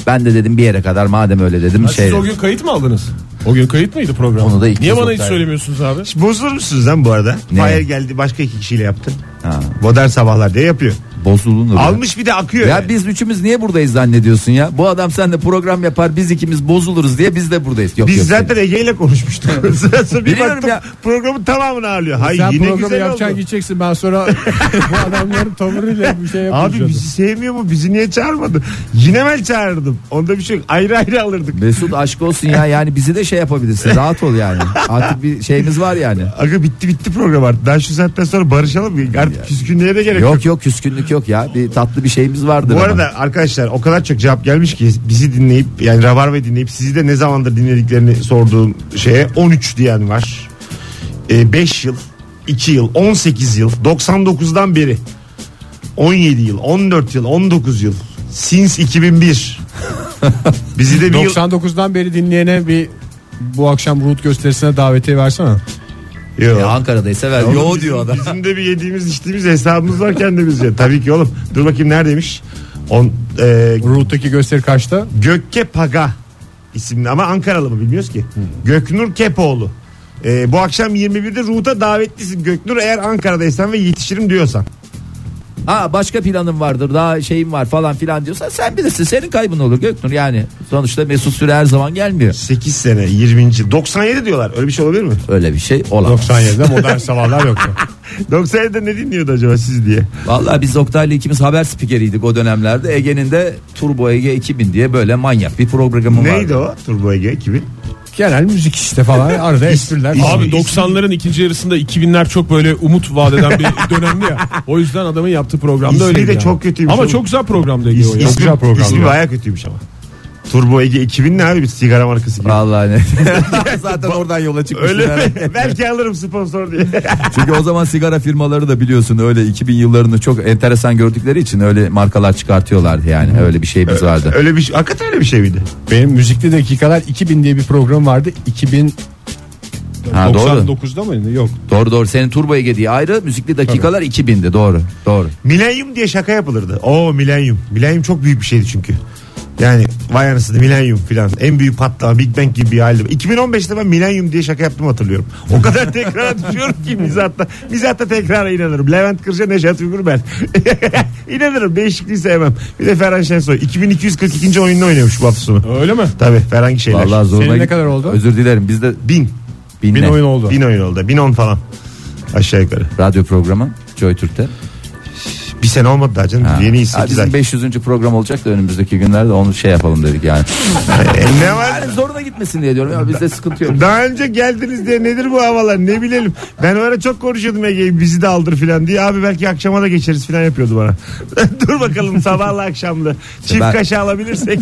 Speaker 3: Ben de dedim bir yere kadar madem öyle dedim
Speaker 4: Ha,
Speaker 3: şey.
Speaker 4: Siz o gün kayıt mı aldınız? O gün kayıt mıydı program?
Speaker 3: Onu da ilk
Speaker 4: Niye
Speaker 3: kez
Speaker 4: bana hiç
Speaker 3: Oktay-
Speaker 4: söylemiyorsunuz abi?
Speaker 2: Hiç bozulur musunuz lan bu arada?
Speaker 3: Ne?
Speaker 2: Fahir geldi başka iki kişiyle yaptı.
Speaker 3: Ha.
Speaker 2: Modern sabahlar diye yapıyor.
Speaker 3: bozulunur. ya.
Speaker 2: Almış bir de akıyor.
Speaker 3: Ya biz üçümüz niye buradayız zannediyorsun ya? Bu adam seninle program yapar biz ikimiz bozuluruz diye biz de buradayız. Yok,
Speaker 2: Biz
Speaker 3: yok,
Speaker 2: zaten Ege ile konuşmuştuk. Sonra sonra bir
Speaker 3: Biliyorum
Speaker 2: baktım
Speaker 3: ya.
Speaker 2: programın tamamını ağırlıyor. Hayır
Speaker 5: Sen
Speaker 2: yine
Speaker 5: programı
Speaker 2: güzel oldu.
Speaker 5: yapacaksın gideceksin ben sonra bu adamların tavırıyla bir şey
Speaker 2: Abi
Speaker 5: yapacağım.
Speaker 2: bizi sevmiyor mu? Bizi niye çağırmadı? Yine ben çağırdım. Onda bir şey yok. Ayrı ayrı alırdık.
Speaker 3: Mesut aşk olsun ya yani bizi de şey yapabilirsin rahat ol yani. Artık bir şeyimiz var yani.
Speaker 2: Aga bitti bitti program artık. Daha şu saatten sonra barışalım. Artık küskünlüğe de gerek yok.
Speaker 3: Yok yok küskünlük yok ya bir tatlı bir şeyimiz vardır.
Speaker 2: Bu
Speaker 3: ama.
Speaker 2: arada arkadaşlar o kadar çok cevap gelmiş ki bizi dinleyip yani Rabarbe dinleyip sizi de ne zamandır dinlediklerini sorduğum şeye 13 diyen var. 5 yıl, 2 yıl, 18 yıl, 99'dan beri. 17 yıl, 14 yıl, 19 yıl. Since 2001. bizi de bir yıl...
Speaker 5: 99'dan beri dinleyene bir bu akşam Ruth gösterisine davetiye versene.
Speaker 2: Yo.
Speaker 3: Ya Ankara'daysa ver.
Speaker 2: Oğlum
Speaker 3: Yo
Speaker 2: bizim-
Speaker 3: diyor adam.
Speaker 2: Bizim de bir yediğimiz içtiğimiz hesabımız var kendimizce. Tabii ki oğlum. Dur bakayım neredeymiş? On, e,
Speaker 5: Ruth'taki gösteri kaçta?
Speaker 2: Gökke Paga isimli ama Ankaralı mı bilmiyoruz ki. Göknur Kepoğlu. Ee, bu akşam 21'de Ruhut'a davetlisin Göknur eğer Ankara'daysan ve yetişirim diyorsan.
Speaker 3: Ha başka planım vardır daha şeyim var falan filan diyorsan sen bilirsin senin kaybın olur Göknur yani. Sonuçta Mesut Süre her zaman gelmiyor.
Speaker 2: 8 sene 20. yıl. 97 diyorlar öyle bir şey olabilir mi?
Speaker 3: Öyle bir şey olamaz.
Speaker 5: 97'de modern sabahlar yoktu.
Speaker 2: 97'de ne dinliyordu acaba siz diye.
Speaker 3: Vallahi biz Oktay'la ikimiz haber spikeriydik o dönemlerde. Ege'nin de Turbo Ege 2000 diye böyle manyak bir programı vardı.
Speaker 2: Neydi o Turbo Ege 2000?
Speaker 5: Genel müzik işte falan arada espriler.
Speaker 2: İsmi-
Speaker 4: Abi 90'ların ikinci yarısında 2000'ler çok böyle umut vaat eden bir dönemdi ya. O yüzden adamın yaptığı
Speaker 2: İsmi
Speaker 4: programda
Speaker 2: de
Speaker 4: öyle.
Speaker 2: çok kötüymüş
Speaker 4: Ama
Speaker 2: oğlum.
Speaker 4: çok güzel programdı Ege o
Speaker 2: İs-
Speaker 4: ya.
Speaker 2: ismi,
Speaker 5: güzel programdı.
Speaker 2: ismi bayağı kötüymüş ama. Turbo Ege 2000 ne abi bir sigara markası gibi.
Speaker 3: Vallahi ne. Zaten oradan yola çıkmışlar.
Speaker 2: Öyle mi? Belki alırım sponsor diye.
Speaker 3: Çünkü o zaman sigara firmaları da biliyorsun öyle 2000 yıllarını çok enteresan gördükleri için öyle markalar çıkartıyorlardı yani. Öyle bir şeyimiz vardı.
Speaker 2: öyle bir şey. Hakikaten öyle bir şey miydi?
Speaker 5: Benim müzikli dakikalar 2000 diye bir program vardı. 2000
Speaker 3: Ha, doğru.
Speaker 5: 99'da mıydı? Yok.
Speaker 3: Doğru doğru. Senin Turbo Ege diye ayrı müzikli dakikalar 2000'di. Doğru. Doğru.
Speaker 2: Milenyum diye şaka yapılırdı. Oo milenyum. Milenyum çok büyük bir şeydi çünkü. Yani vay anasını milenyum filan. En büyük patlama Big Bang gibi bir halde. 2015'te ben milenyum diye şaka yaptım hatırlıyorum. O kadar tekrar düşüyorum ki mizatta. Mizatta tekrara inanırım. Levent Kırca, Neşet Uygur ben. inanırım. Değişikliği sevmem. Bir de Ferhan Şensoy. 2242. oyununu oynamış bu hafta sonu.
Speaker 4: Öyle mi?
Speaker 2: Tabii Ferhan şeyler.
Speaker 3: Vallahi zoruna
Speaker 5: Senin ne
Speaker 3: git-
Speaker 5: kadar oldu?
Speaker 3: Özür dilerim. Biz de
Speaker 2: Bin.
Speaker 3: binle.
Speaker 5: Bin oyun oldu.
Speaker 2: Bin oyun oldu. Bin on falan. Aşağı yukarı.
Speaker 3: Radyo programı Joy Türk'te.
Speaker 2: Bir sene olmadı daha canım.
Speaker 3: Ha.
Speaker 2: Yeni
Speaker 3: Ha,
Speaker 2: 8 ay.
Speaker 3: bizim 500. program olacak da önümüzdeki günlerde onu şey yapalım dedik yani.
Speaker 2: E, ne var?
Speaker 3: yani zoruna gitmesin diye diyorum. Ya bizde sıkıntı yok.
Speaker 2: Daha önce geldiniz diye nedir bu havalar ne bilelim. Ben o ara çok konuşuyordum Ege'yi bizi de aldır filan diye. Abi belki akşama da geçeriz filan yapıyordu bana. Dur bakalım sabahla akşamlı. Çift
Speaker 3: ben-
Speaker 2: kaşı alabilirsek.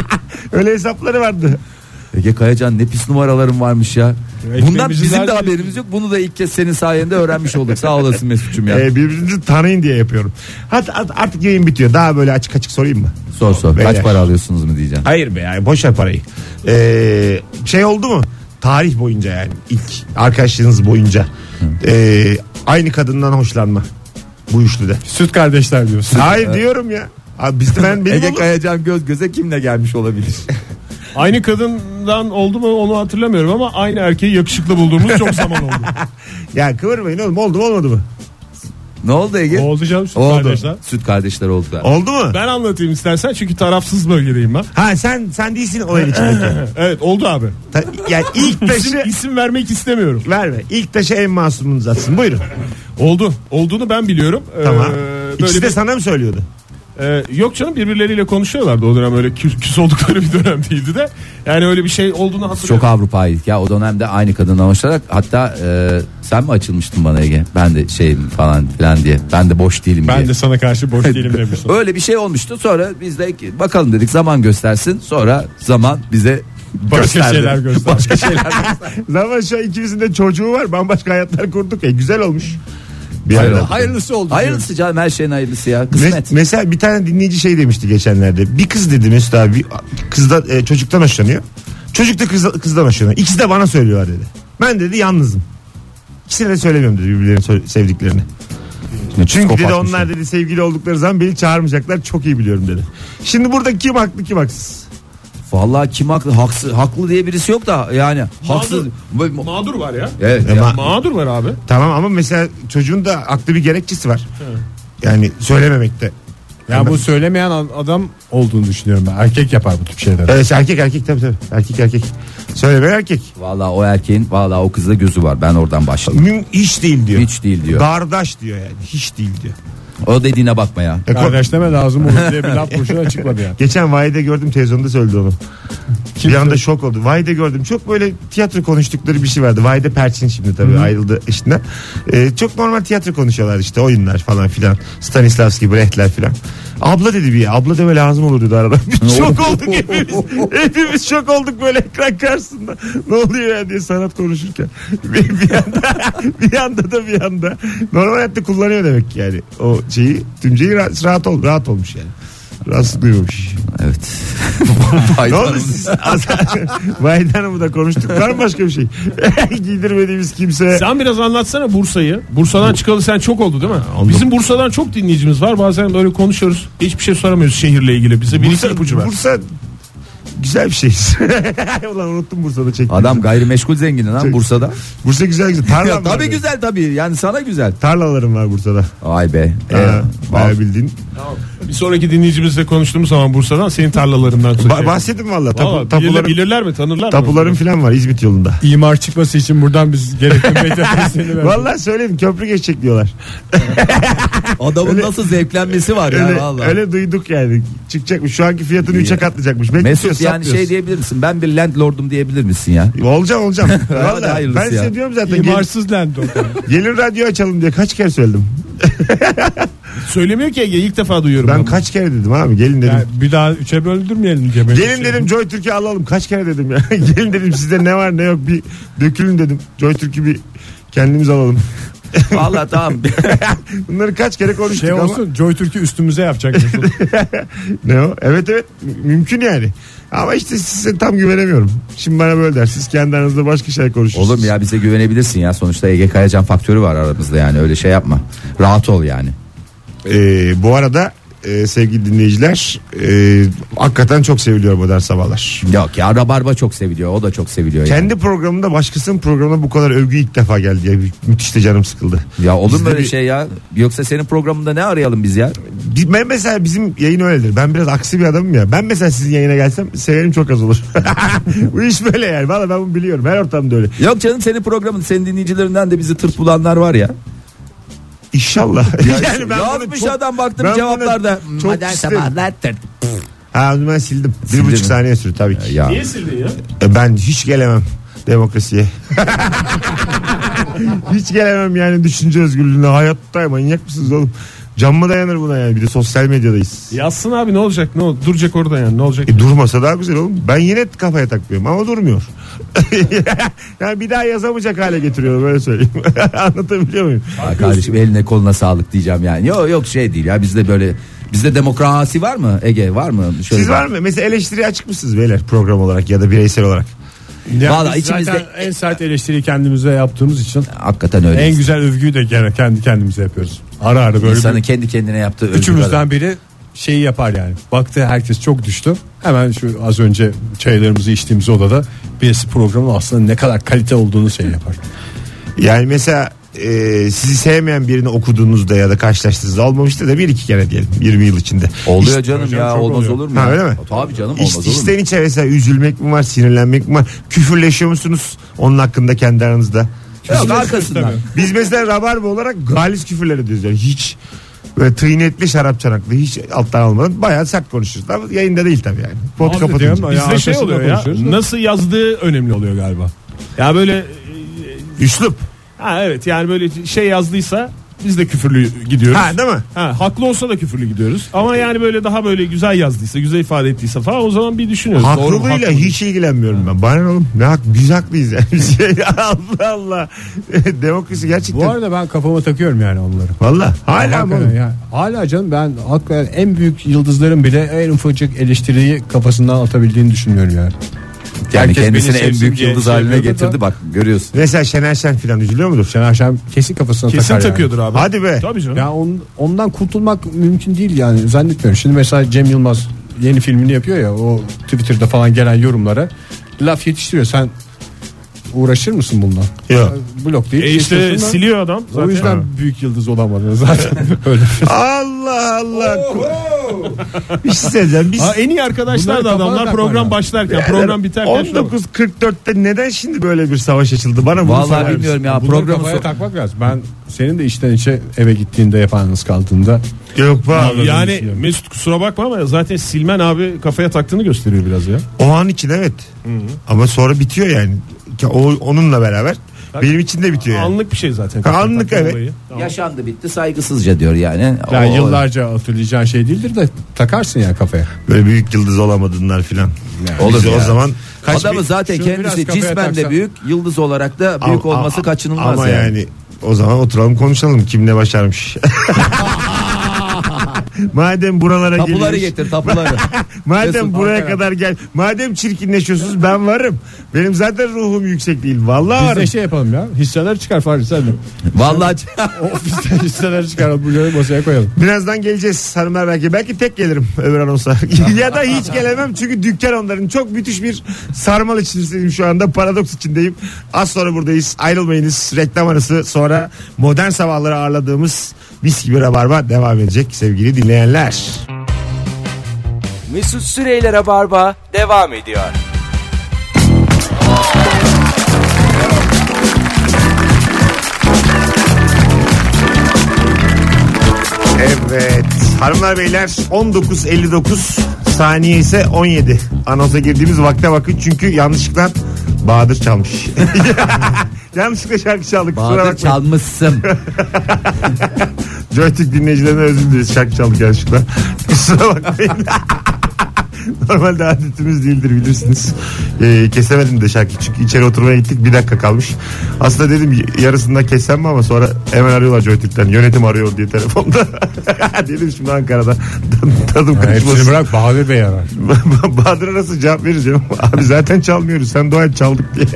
Speaker 2: Öyle hesapları vardı.
Speaker 3: Ege Kayacan ne pis numaraların varmış ya.
Speaker 5: işte
Speaker 3: Bundan
Speaker 5: bizim
Speaker 3: bizim de
Speaker 5: her-
Speaker 3: haberimiz yok. Bunu da ilk kez senin sayende öğrenmiş olduk. Sağ olasın Mesut'cum ya.
Speaker 2: Ee, birbirinizi tanıyın diye yapıyorum. Hat, hat- artık yayın bitiyor. Daha böyle açık açık sorayım mı?
Speaker 3: Sor sor.
Speaker 2: Beyler.
Speaker 3: Kaç para alıyorsunuz mu diyeceğim.
Speaker 2: Hayır be yani boş ver parayı. Ee, şey oldu mu? Tarih boyunca yani ilk arkadaşlığınız boyunca. Ee, aynı kadından hoşlanma. Bu üçlüde.
Speaker 5: Süt kardeşler diyorsun.
Speaker 2: Hayır diyorum ya. Abi bizde ben benim
Speaker 3: Ege
Speaker 2: olur.
Speaker 3: Kayacan göz göze kimle gelmiş olabilir?
Speaker 4: Aynı kadından oldu mu onu hatırlamıyorum ama aynı erkeği yakışıklı bulduğumuz çok zaman oldu.
Speaker 2: Ya kıvırmayın oğlum oldu mu olmadı mı?
Speaker 3: ne oldu Ege?
Speaker 4: Oldu canım süt
Speaker 3: Oldu.
Speaker 4: kardeşler.
Speaker 3: Süt kardeşler oldu. da.
Speaker 2: Oldu mu?
Speaker 4: Ben anlatayım istersen çünkü tarafsız bölgedeyim ben.
Speaker 2: Ha sen sen değilsin olayın içindeki.
Speaker 4: Evet oldu abi.
Speaker 2: Ta- yani ilk
Speaker 4: İsim,
Speaker 2: taşı
Speaker 4: isim vermek istemiyorum.
Speaker 2: verme. İlk taşı en masumunuz atsın. Buyurun.
Speaker 4: Oldu. Olduğunu ben biliyorum.
Speaker 2: Tamam.
Speaker 4: Ee, böyle
Speaker 2: İkisi de
Speaker 4: bir-
Speaker 2: sana mı söylüyordu?
Speaker 4: Ee, yok canım birbirleriyle konuşuyorlardı o dönem öyle küs, küs oldukları bir dönem değildi de. Yani öyle bir şey olduğunu hatırlıyorum.
Speaker 3: Çok Avrupa'ydık ya o dönemde aynı kadından hoşlanarak hatta e, sen mi açılmıştın bana Ege? Ben de şeyim falan filan diye. Ben de boş değilim diye.
Speaker 5: Ben de sana karşı boş değilim demiştim.
Speaker 3: Öyle bir şey olmuştu. Sonra biz de ki, bakalım dedik zaman göstersin. Sonra zaman bize
Speaker 5: Başka şeyler gösterdi.
Speaker 3: Başka şeyler.
Speaker 2: Zaman şu an ikimizin de çocuğu var. Bambaşka hayatlar kurduk. E, güzel olmuş. Bir
Speaker 3: Hayır,
Speaker 2: ara.
Speaker 5: Hayırlısı oldu. diyorum.
Speaker 3: hayırlısı canım her şeyin hayırlısı ya.
Speaker 2: Me-
Speaker 3: Kısmet.
Speaker 2: mesela bir tane dinleyici şey demişti geçenlerde. Bir kız dedi Mesut abi bir kızda e, çocuktan hoşlanıyor. Çocuk da kızda, kızdan hoşlanıyor. İkisi de bana söylüyorlar dedi. Ben dedi yalnızım. İkisine de söylemiyorum dedi birbirlerini sö- sevdiklerini. Çünkü dedi
Speaker 3: Psikopatmış
Speaker 2: onlar
Speaker 3: ya.
Speaker 2: dedi sevgili oldukları zaman beni çağırmayacaklar çok iyi biliyorum dedi. Şimdi burada kim haklı kim haksız?
Speaker 3: Vallahi kim haklı? Haksız, haklı diye birisi yok da yani haksız.
Speaker 4: Mağdur var ya.
Speaker 3: Evet.
Speaker 2: Ama-
Speaker 3: Ya.
Speaker 4: Mağdur var abi.
Speaker 2: Tamam ama mesela çocuğun da aklı bir gerekçesi var. Yani söylememekte.
Speaker 5: Ya bu söylemeyen adam olduğunu düşünüyorum ben. Erkek yapar bu tip şeyleri.
Speaker 2: Evet erkek erkek tabii tabii. Erkek erkek. Söylemeyen erkek.
Speaker 3: Valla o erkeğin valla o kızda gözü var. Ben oradan başladım.
Speaker 2: Müm hiç değil diyor.
Speaker 3: Hiç değil diyor.
Speaker 2: Kardeş diyor yani. Hiç değil diyor.
Speaker 3: O dediğine bakma ya.
Speaker 2: E, ko-
Speaker 5: Kardeş deme lazım olur diye bir laf boşuna açıkladı yani.
Speaker 2: Geçen Vahide gördüm televizyonda söyledi onu. bir anda şok oldu. Vahide gördüm. Çok böyle tiyatro konuştukları bir şey vardı. Vahide Perçin şimdi tabii ayrıldı işinden. Ee, çok normal tiyatro konuşuyorlar işte oyunlar falan filan. Stanislavski, Brecht'ler filan. Abla dedi bir abla deme lazım olur dedi arada. Biz şok olduk hepimiz. hepimiz şok olduk böyle ekran karşısında. Ne oluyor ya diye sanat konuşurken. Bir, bir anda, bir anda da bir anda. Normal hayatta kullanıyor demek ki yani. O şeyi tümceyi ra- rahat, ol, rahat olmuş yani. Rahatsız duymamış.
Speaker 3: Evet.
Speaker 2: Ne oldu siz? Vahit Hanım'ı da konuştuk. Var mı başka bir şey? Giydirmediğimiz
Speaker 5: E-
Speaker 2: kimseye.
Speaker 4: Sen biraz anlatsana Bursa'yı. Bursa'dan çıkalı sen çok oldu değil mi? Bizim Bursa'dan çok dinleyicimiz var. Bazen böyle konuşuyoruz. Hiçbir şey soramıyoruz şehirle ilgili. Bize bir iki ipucu ver.
Speaker 2: Bursa güzel bir şey. Ulan unuttum Bursa'da çektiğimizi.
Speaker 3: Adam gayrimeşgul zengini
Speaker 2: Şey-
Speaker 3: lan Bursa'da.
Speaker 2: Bursa güzel güzel.
Speaker 3: Ya,
Speaker 2: Tarlam var
Speaker 3: tabii
Speaker 2: benim.
Speaker 3: güzel tabii. Yani sana güzel.
Speaker 2: Tarlalarım var Bursa'da.
Speaker 3: Ay be. Ee,
Speaker 2: Ee,
Speaker 3: bak,
Speaker 2: bayağı bildiğin.
Speaker 4: Bir sonraki dinleyicimizle konuştuğumuz zaman Bursa'dan senin tarlalarından
Speaker 2: Ba-
Speaker 4: söyleyeceğim.
Speaker 2: bahsedin valla.
Speaker 4: Valla
Speaker 2: Tapu,
Speaker 4: bilirler,
Speaker 2: tapularım,
Speaker 4: bilirler mi tanırlar mı?
Speaker 2: tapularım falan var İzmit yolunda.
Speaker 5: İmar çıkması için buradan biz gerekli beklentilerini verdik.
Speaker 2: Valla söyledim köprü geçecek diyorlar.
Speaker 3: adamın nasıl zevklenmesi var ya
Speaker 2: Öyle,
Speaker 3: valla.
Speaker 2: öyle duyduk yani. Çıkacakmış. Şu anki fiyatını 3'e katlayacakmış. Bekliyoruz,
Speaker 3: Mesut yani şey
Speaker 2: satmıyoruz.
Speaker 3: diyebilir misin? Ben bir landlordum diyebilir misin ya?
Speaker 2: Olacağım olacağım. Valla
Speaker 3: hayırlısı
Speaker 2: ben size
Speaker 3: ya.
Speaker 2: diyorum zaten. gel-
Speaker 5: İmarsız lendi o.
Speaker 2: Gelin radyo açalım diye kaç kere söyledim.
Speaker 4: Söylemiyor ki Ege ilk defa duyuyorum.
Speaker 2: Ben
Speaker 4: bunu.
Speaker 2: kaç kere dedim abi gelin dedim.
Speaker 5: Yani bir daha üçe böldürmeyelim diye. böyle
Speaker 2: gelin
Speaker 5: şey.
Speaker 2: dedim Joy Türkiye alalım. Kaç kere dedim ya. gelin dedim sizde ne var ne yok bir dökülün dedim. Joy Türkiye bir kendimiz alalım.
Speaker 3: Valla tamam.
Speaker 2: Bunları kaç kere konuştuk
Speaker 5: Şey
Speaker 2: ama.
Speaker 5: olsun Joy Türk'ü üstümüze yapacak. Mesut.
Speaker 2: Ne o? Evet evet mü- mümkün yani. Ama işte size tam güvenemiyorum. Şimdi bana böyle der. Siz kendi aranızda başka şey konuşursunuz.
Speaker 3: Oğlum ya bize güvenebilirsin ya. Sonuçta Ege Kayacan faktörü var aramızda yani. Öyle şey yapma. Rahat ol yani.
Speaker 2: Ee, bu arada e, sevgili dinleyiciler e, hakikaten çok seviliyor modern sabahlar.
Speaker 3: Yok ya Rabarba çok seviliyor. O da çok seviliyor. yani.
Speaker 2: Kendi programında başkasının programına bu kadar övgü ilk defa geldi. Ya. Müthiş de canım sıkıldı.
Speaker 3: Ya olur mu
Speaker 2: Bizde
Speaker 3: öyle
Speaker 2: bir-
Speaker 3: şey ya? Yoksa senin programında ne arayalım biz ya?
Speaker 2: Bi- Ben mesela bizim yayın öyledir. Ben biraz aksi bir adamım ya. Ben mesela sizin yayına gelsem severim çok az olur. bu iş böyle yani. Valla ben bunu biliyorum. Her ortamda öyle.
Speaker 3: Yok canım senin programın senin dinleyicilerinden de bizi tırt bulanlar var ya.
Speaker 2: İnşallah.
Speaker 3: Ya
Speaker 2: yani ben bunu
Speaker 3: yazmış
Speaker 2: çok...
Speaker 3: adam baktım
Speaker 2: ben bunu
Speaker 3: cevaplarda.
Speaker 2: çok
Speaker 3: Modern
Speaker 2: isterim.
Speaker 3: sabahlar tırt.
Speaker 2: Ha onu ben sildim.
Speaker 3: Sildin
Speaker 2: bir buçuk
Speaker 3: mi?
Speaker 2: saniye sürdü tabii ki.
Speaker 3: Ya.
Speaker 4: Niye sildin ya?
Speaker 2: E, Ben hiç gelemem demokrasiye. hiç gelemem yani düşünce özgürlüğüne. Hayatta manyak mısınız oğlum? Can mı dayanır buna yani? Bir de sosyal medyadayız.
Speaker 4: Yazsın abi ne olacak? Ne ol- Duracak orada yani ne olacak?
Speaker 2: E durmasa daha güzel oğlum. Ben yine kafaya takmıyorum ama durmuyor. yani bir daha yazamayacak hale getiriyorum öyle söyleyeyim. Anlatabiliyor muyum?
Speaker 3: Ya kardeşim eline koluna sağlık diyeceğim yani. Yok yok şey değil ya bizde böyle bizde demokrasi var mı Ege var mı? Şöyle
Speaker 2: Siz var mı? Mesela eleştiriye açık mısınız beyler program olarak ya da bireysel olarak?
Speaker 5: Ya
Speaker 3: Valla
Speaker 5: biz
Speaker 3: içimizde-
Speaker 5: zaten en sert eleştiriyi kendimize yaptığımız için
Speaker 3: Hakikaten öyle.
Speaker 5: en güzel övgüyü de gene kendi kendimize yapıyoruz. Ara ara böyle
Speaker 3: İnsanın
Speaker 5: bir-
Speaker 3: kendi kendine yaptığı övgü kadar.
Speaker 5: üçümüzden biri şeyi yapar yani. Baktı herkes çok düştü. Hemen şu az önce çaylarımızı içtiğimiz odada birisi programın aslında ne kadar kalite olduğunu şey yapar.
Speaker 2: Yani mesela e, sizi sevmeyen birini okuduğunuzda ya da karşılaştığınızda olmamıştır da bir iki kere diyelim 20 yıl içinde.
Speaker 3: Oluyor
Speaker 2: İş-
Speaker 3: canım
Speaker 5: hocam,
Speaker 3: ya
Speaker 5: çok
Speaker 3: olmaz
Speaker 5: oluyor.
Speaker 3: olur
Speaker 2: Ha,
Speaker 3: mu? ya? E,
Speaker 2: öyle mi?
Speaker 3: Tabii canım olmaz
Speaker 2: İş,
Speaker 3: olur mu?
Speaker 2: işten içe mesela üzülmek mi var, sinirlenmek mi var? Küfürleşiyor musunuz onun hakkında kendi aranızda?
Speaker 3: Yok arkasından.
Speaker 2: Biz mesela rabarba olarak galis küfürler ediyoruz yani hiç böyle tıynetli şarap çanaklı hiç alttan almadan bayağı sert konuşuruz ama yayında değil tabii yani. Pot
Speaker 5: Abi
Speaker 2: kapatınca.
Speaker 5: diyorum,
Speaker 2: Biz-
Speaker 5: Ya
Speaker 4: Bizde şey
Speaker 5: arkasında
Speaker 4: oluyor ya.
Speaker 5: konuşuyoruz da.
Speaker 4: Nasıl yazdığı önemli oluyor galiba. Ya böyle e,
Speaker 2: Üslup.
Speaker 4: ha evet yani böyle şey yazdıysa biz de küfürlü gidiyoruz.
Speaker 2: Ha değil mi?
Speaker 4: Ha, haklı olsa da küfürlü gidiyoruz. Ama yani böyle daha böyle güzel yazdıysa, güzel ifade ettiyse falan o zaman bir düşünüyoruz. Doğru mu,
Speaker 2: Haklılığıyla
Speaker 4: haklı mı?
Speaker 2: hiç ilgilenmiyorum ben. Bana ne oğlum ne hak biz haklıyız yani. Biz- şey- Allah Allah. Demokrasi
Speaker 5: Bu
Speaker 2: gerçekten.
Speaker 5: arada ben kafama takıyorum yani onları.
Speaker 2: Valla hala mı?
Speaker 5: Hakikaten
Speaker 2: oğlum?
Speaker 5: yani. Hala canım ben hakikaten en büyük yıldızların bile en ufacık eleştiriyi kafasından atabildiğini düşünüyorum yani.
Speaker 3: Yani
Speaker 5: Herkes
Speaker 3: kendisini
Speaker 5: beni
Speaker 3: en
Speaker 5: sevsin
Speaker 3: büyük
Speaker 5: diye
Speaker 3: yıldız
Speaker 5: şey
Speaker 3: haline
Speaker 5: yapıyordu da.
Speaker 3: getirdi bak görüyorsun.
Speaker 2: Mesela Şener Şen filan üzülüyor mudur?
Speaker 5: Şener Şen kesin kafasına
Speaker 4: Kesin
Speaker 5: takar yani.
Speaker 4: takıyordur abi.
Speaker 2: Hadi be.
Speaker 4: Tabii canım.
Speaker 5: Ya on, ondan kurtulmak mümkün değil yani zannetmiyorum. Şimdi mesela Cem Yılmaz yeni filmini yapıyor ya o Twitter'da falan gelen yorumlara laf yetiştiriyor. Sen uğraşır mısın bununla?
Speaker 2: Yok.
Speaker 5: Blok deyip
Speaker 4: E işte
Speaker 5: geçiyorsun da.
Speaker 4: siliyor adam. Zaten.
Speaker 5: şey O yüzden büyük yıldız olamadın zaten. Öyle.
Speaker 2: Allah Allah. bir şey söyleyeceğim. Biz
Speaker 4: Ha, en iyi arkadaşlar
Speaker 5: Bunlar
Speaker 4: da adamlar
Speaker 5: kafadan
Speaker 4: program
Speaker 5: takma
Speaker 4: başlarken program biterken. şu-
Speaker 2: 19.44'te neden şimdi böyle bir savaş açıldı? Bana bunu
Speaker 3: Vallahi
Speaker 2: söyler misin?
Speaker 3: bilmiyorum ya
Speaker 5: Bunları
Speaker 3: programı
Speaker 5: kafaya
Speaker 3: sor-
Speaker 5: takmak lazım. Ben senin de işten içe eve gittiğinde yalnız kaldığında
Speaker 2: Yok be abi.
Speaker 4: Yani Mesut kusura bakma ama zaten Silmen abi kafaya taktığını gösteriyor biraz ya.
Speaker 2: O an için evet. Ama sonra bitiyor yani. Ki O, onunla beraber. Benim için de bitiyor yani.
Speaker 4: Anlık bir şey zaten.
Speaker 2: Ha, anlık,
Speaker 4: Takma
Speaker 2: evet.
Speaker 4: olayı.
Speaker 3: yaşandı bitti saygısızca diyor yani.
Speaker 5: yani
Speaker 3: O-
Speaker 5: yıllarca hatırlayacağın şey değildir de takarsın ya kafaya.
Speaker 2: Böyle büyük yıldız olamadınlar filan.
Speaker 3: Olur
Speaker 2: Biz
Speaker 3: ya.
Speaker 2: o zaman kaç
Speaker 3: Adamı
Speaker 2: bin-
Speaker 3: zaten
Speaker 5: Şunu
Speaker 3: kendisi
Speaker 5: biraz kafaya
Speaker 3: cismen de
Speaker 5: taksan.
Speaker 3: büyük, yıldız olarak da
Speaker 2: Ama-
Speaker 3: büyük olması
Speaker 2: ama-
Speaker 3: kaçınılmaz
Speaker 2: Ama
Speaker 3: yani.
Speaker 2: yani o zaman oturalım konuşalım kim ne başarmış. Madem buralara
Speaker 3: Tapuları
Speaker 2: geliyoruz-
Speaker 3: getir tapuları.
Speaker 2: Madem
Speaker 3: Mesut,
Speaker 2: buraya
Speaker 3: hakikaten.
Speaker 2: kadar gel. Madem çirkinleşiyorsunuz ben varım. Benim zaten ruhum yüksek değil. Vallahi
Speaker 5: Biz
Speaker 2: varım.
Speaker 5: de şey yapalım ya. Hisseler çıkar Fahri sen de.
Speaker 3: Vallahi
Speaker 5: O ofisten hisseler çıkar. Bunları masaya koyalım.
Speaker 2: Birazdan geleceğiz hanımlar belki. Belki tek gelirim öbür anonsa. ya da hiç gelemem çünkü dükkan onların. Çok müthiş bir sarmal içindeyim şu anda. Paradoks içindeyim. Az sonra buradayız. Ayrılmayınız. Reklam arası sonra modern sabahları ağırladığımız mis gibi rabarba devam edecek sevgili dinleyenler.
Speaker 1: Mesut Süreyler'e barba devam ediyor.
Speaker 2: Evet. Hanımlar beyler 19.59 saniye ise 17. Anonsa girdiğimiz vakte bakın çünkü yanlışlıkla Bahadır çalmış. yanlışlıkla şarkı çaldık. Kusura
Speaker 3: Bahadır
Speaker 2: bakmayın.
Speaker 3: çalmışsın.
Speaker 2: Joystick dinleyicilerine özür dileriz. Şarkı çaldık yanlışlıkla. Kusura bakmayın. Normalde adetimiz değildir bilirsiniz. Ee, kesemedim de şarkı çünkü içeri oturmaya gittik bir dakika kalmış. Aslında dedim yarısında kesem mi ama sonra hemen arıyorlar Joystick'ten. Yönetim arıyor diye telefonda. dedim şimdi Ankara'da tadım
Speaker 5: Hepsini
Speaker 2: kaçmasın.
Speaker 5: bırak Bahadır Bey arar.
Speaker 2: Bahadır'a nasıl cevap vereceğim? Abi zaten çalmıyoruz. Sen dua et çaldık diye.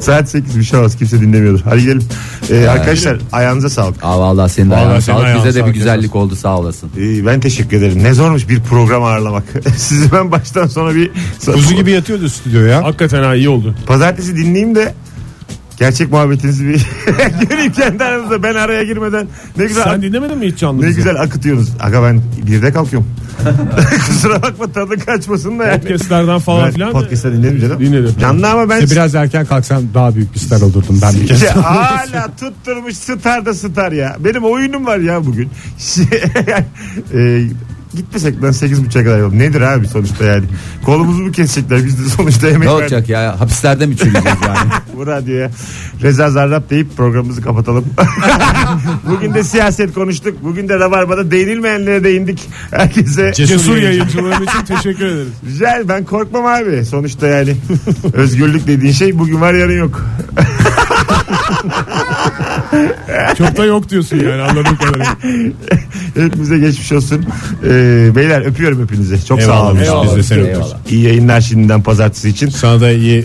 Speaker 2: Saat 8 bir şey olmaz. Kimse dinlemiyordur. Hadi gelin. Ee, arkadaşlar ayağınıza sağlık.
Speaker 3: Aa vallahi senin de
Speaker 5: Vallahi
Speaker 3: ayağına
Speaker 5: senin
Speaker 3: sağlık.
Speaker 5: ayağına
Speaker 3: Bize de bir
Speaker 5: sağlık,
Speaker 3: güzellik oldu sağ olasın.
Speaker 2: Ee, ben teşekkür ederim. Ne zormuş bir program ağırlamak. Sizi ben baştan sona bir...
Speaker 5: Kuzu gibi yatıyordu stüdyo ya.
Speaker 4: Hakikaten ha iyi oldu.
Speaker 2: Pazartesi dinleyeyim de gerçek muhabbetinizi bir göreyim kendi aranızda. Ben araya girmeden ne güzel
Speaker 4: Sen dinlemedin mi hiç canlı?
Speaker 2: ne
Speaker 4: bizi?
Speaker 2: güzel akıtıyorsunuz. Aga ben birde kalkıyorum. Kusura bakma tadı kaçmasın da yani.
Speaker 4: Podcastlerden falan
Speaker 2: Ben
Speaker 4: filan.
Speaker 2: podcast'ta dinledim canım.
Speaker 4: Dinledim.
Speaker 2: Canlı ama ben
Speaker 5: İşte biraz erken kalksam daha büyük bir star olurdum ben bir kez.
Speaker 2: Ya hala tutturmuş star da star ya. Benim oyunum var ya bugün. e, gitmesek ben 8.30'a kadar yapalım. Nedir abi sonuçta yani? Kolumuzu mu kesecekler? Biz de sonuçta
Speaker 3: Ne
Speaker 2: emek verdik
Speaker 3: olacak ya? Hapislerde mi çürüyeceğiz yani?
Speaker 2: bu radyoya. Reza Zarrab deyip programımızı kapatalım. bugün de siyaset konuştuk. Bugün de Rabarba'da değinilmeyenlere değindik. Herkese
Speaker 4: Cesur yayıncılığın için teşekkür ederiz.
Speaker 2: güzel ben korkmam abi. Sonuçta yani özgürlük dediğin şey bugün var yarın yok.
Speaker 4: Çok da yok diyorsun yani anladığım kadarıyla.
Speaker 2: Hepimize geçmiş olsun. Ee, beyler öpüyorum hepinizi. Çok sağ olun.
Speaker 5: Eyvallah. Biz de seni
Speaker 3: Eyvallah.
Speaker 5: öpüyoruz.
Speaker 2: İyi yayınlar şimdiden pazartesi için.
Speaker 5: Sana da iyi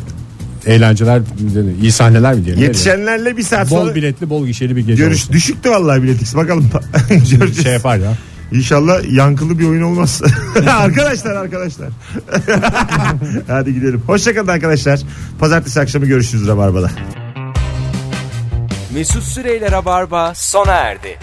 Speaker 5: eğlenceler, iyi sahneler mi diyelim?
Speaker 2: Yetişenlerle bir saat sonra
Speaker 5: Bol biletli, bol gişeli bir gece
Speaker 2: görüş.
Speaker 5: olsun.
Speaker 2: Düşüktü vallahi biletix. Bakalım.
Speaker 5: Şey
Speaker 2: Göreceğiz.
Speaker 5: yapar ya.
Speaker 2: İnşallah yankılı bir oyun olmaz. arkadaşlar arkadaşlar. Hadi gidelim. Hoşçakalın arkadaşlar. Pazartesi akşamı görüşürüz Rabarba'da.
Speaker 1: Mesut Süreyler'e barba sona erdi.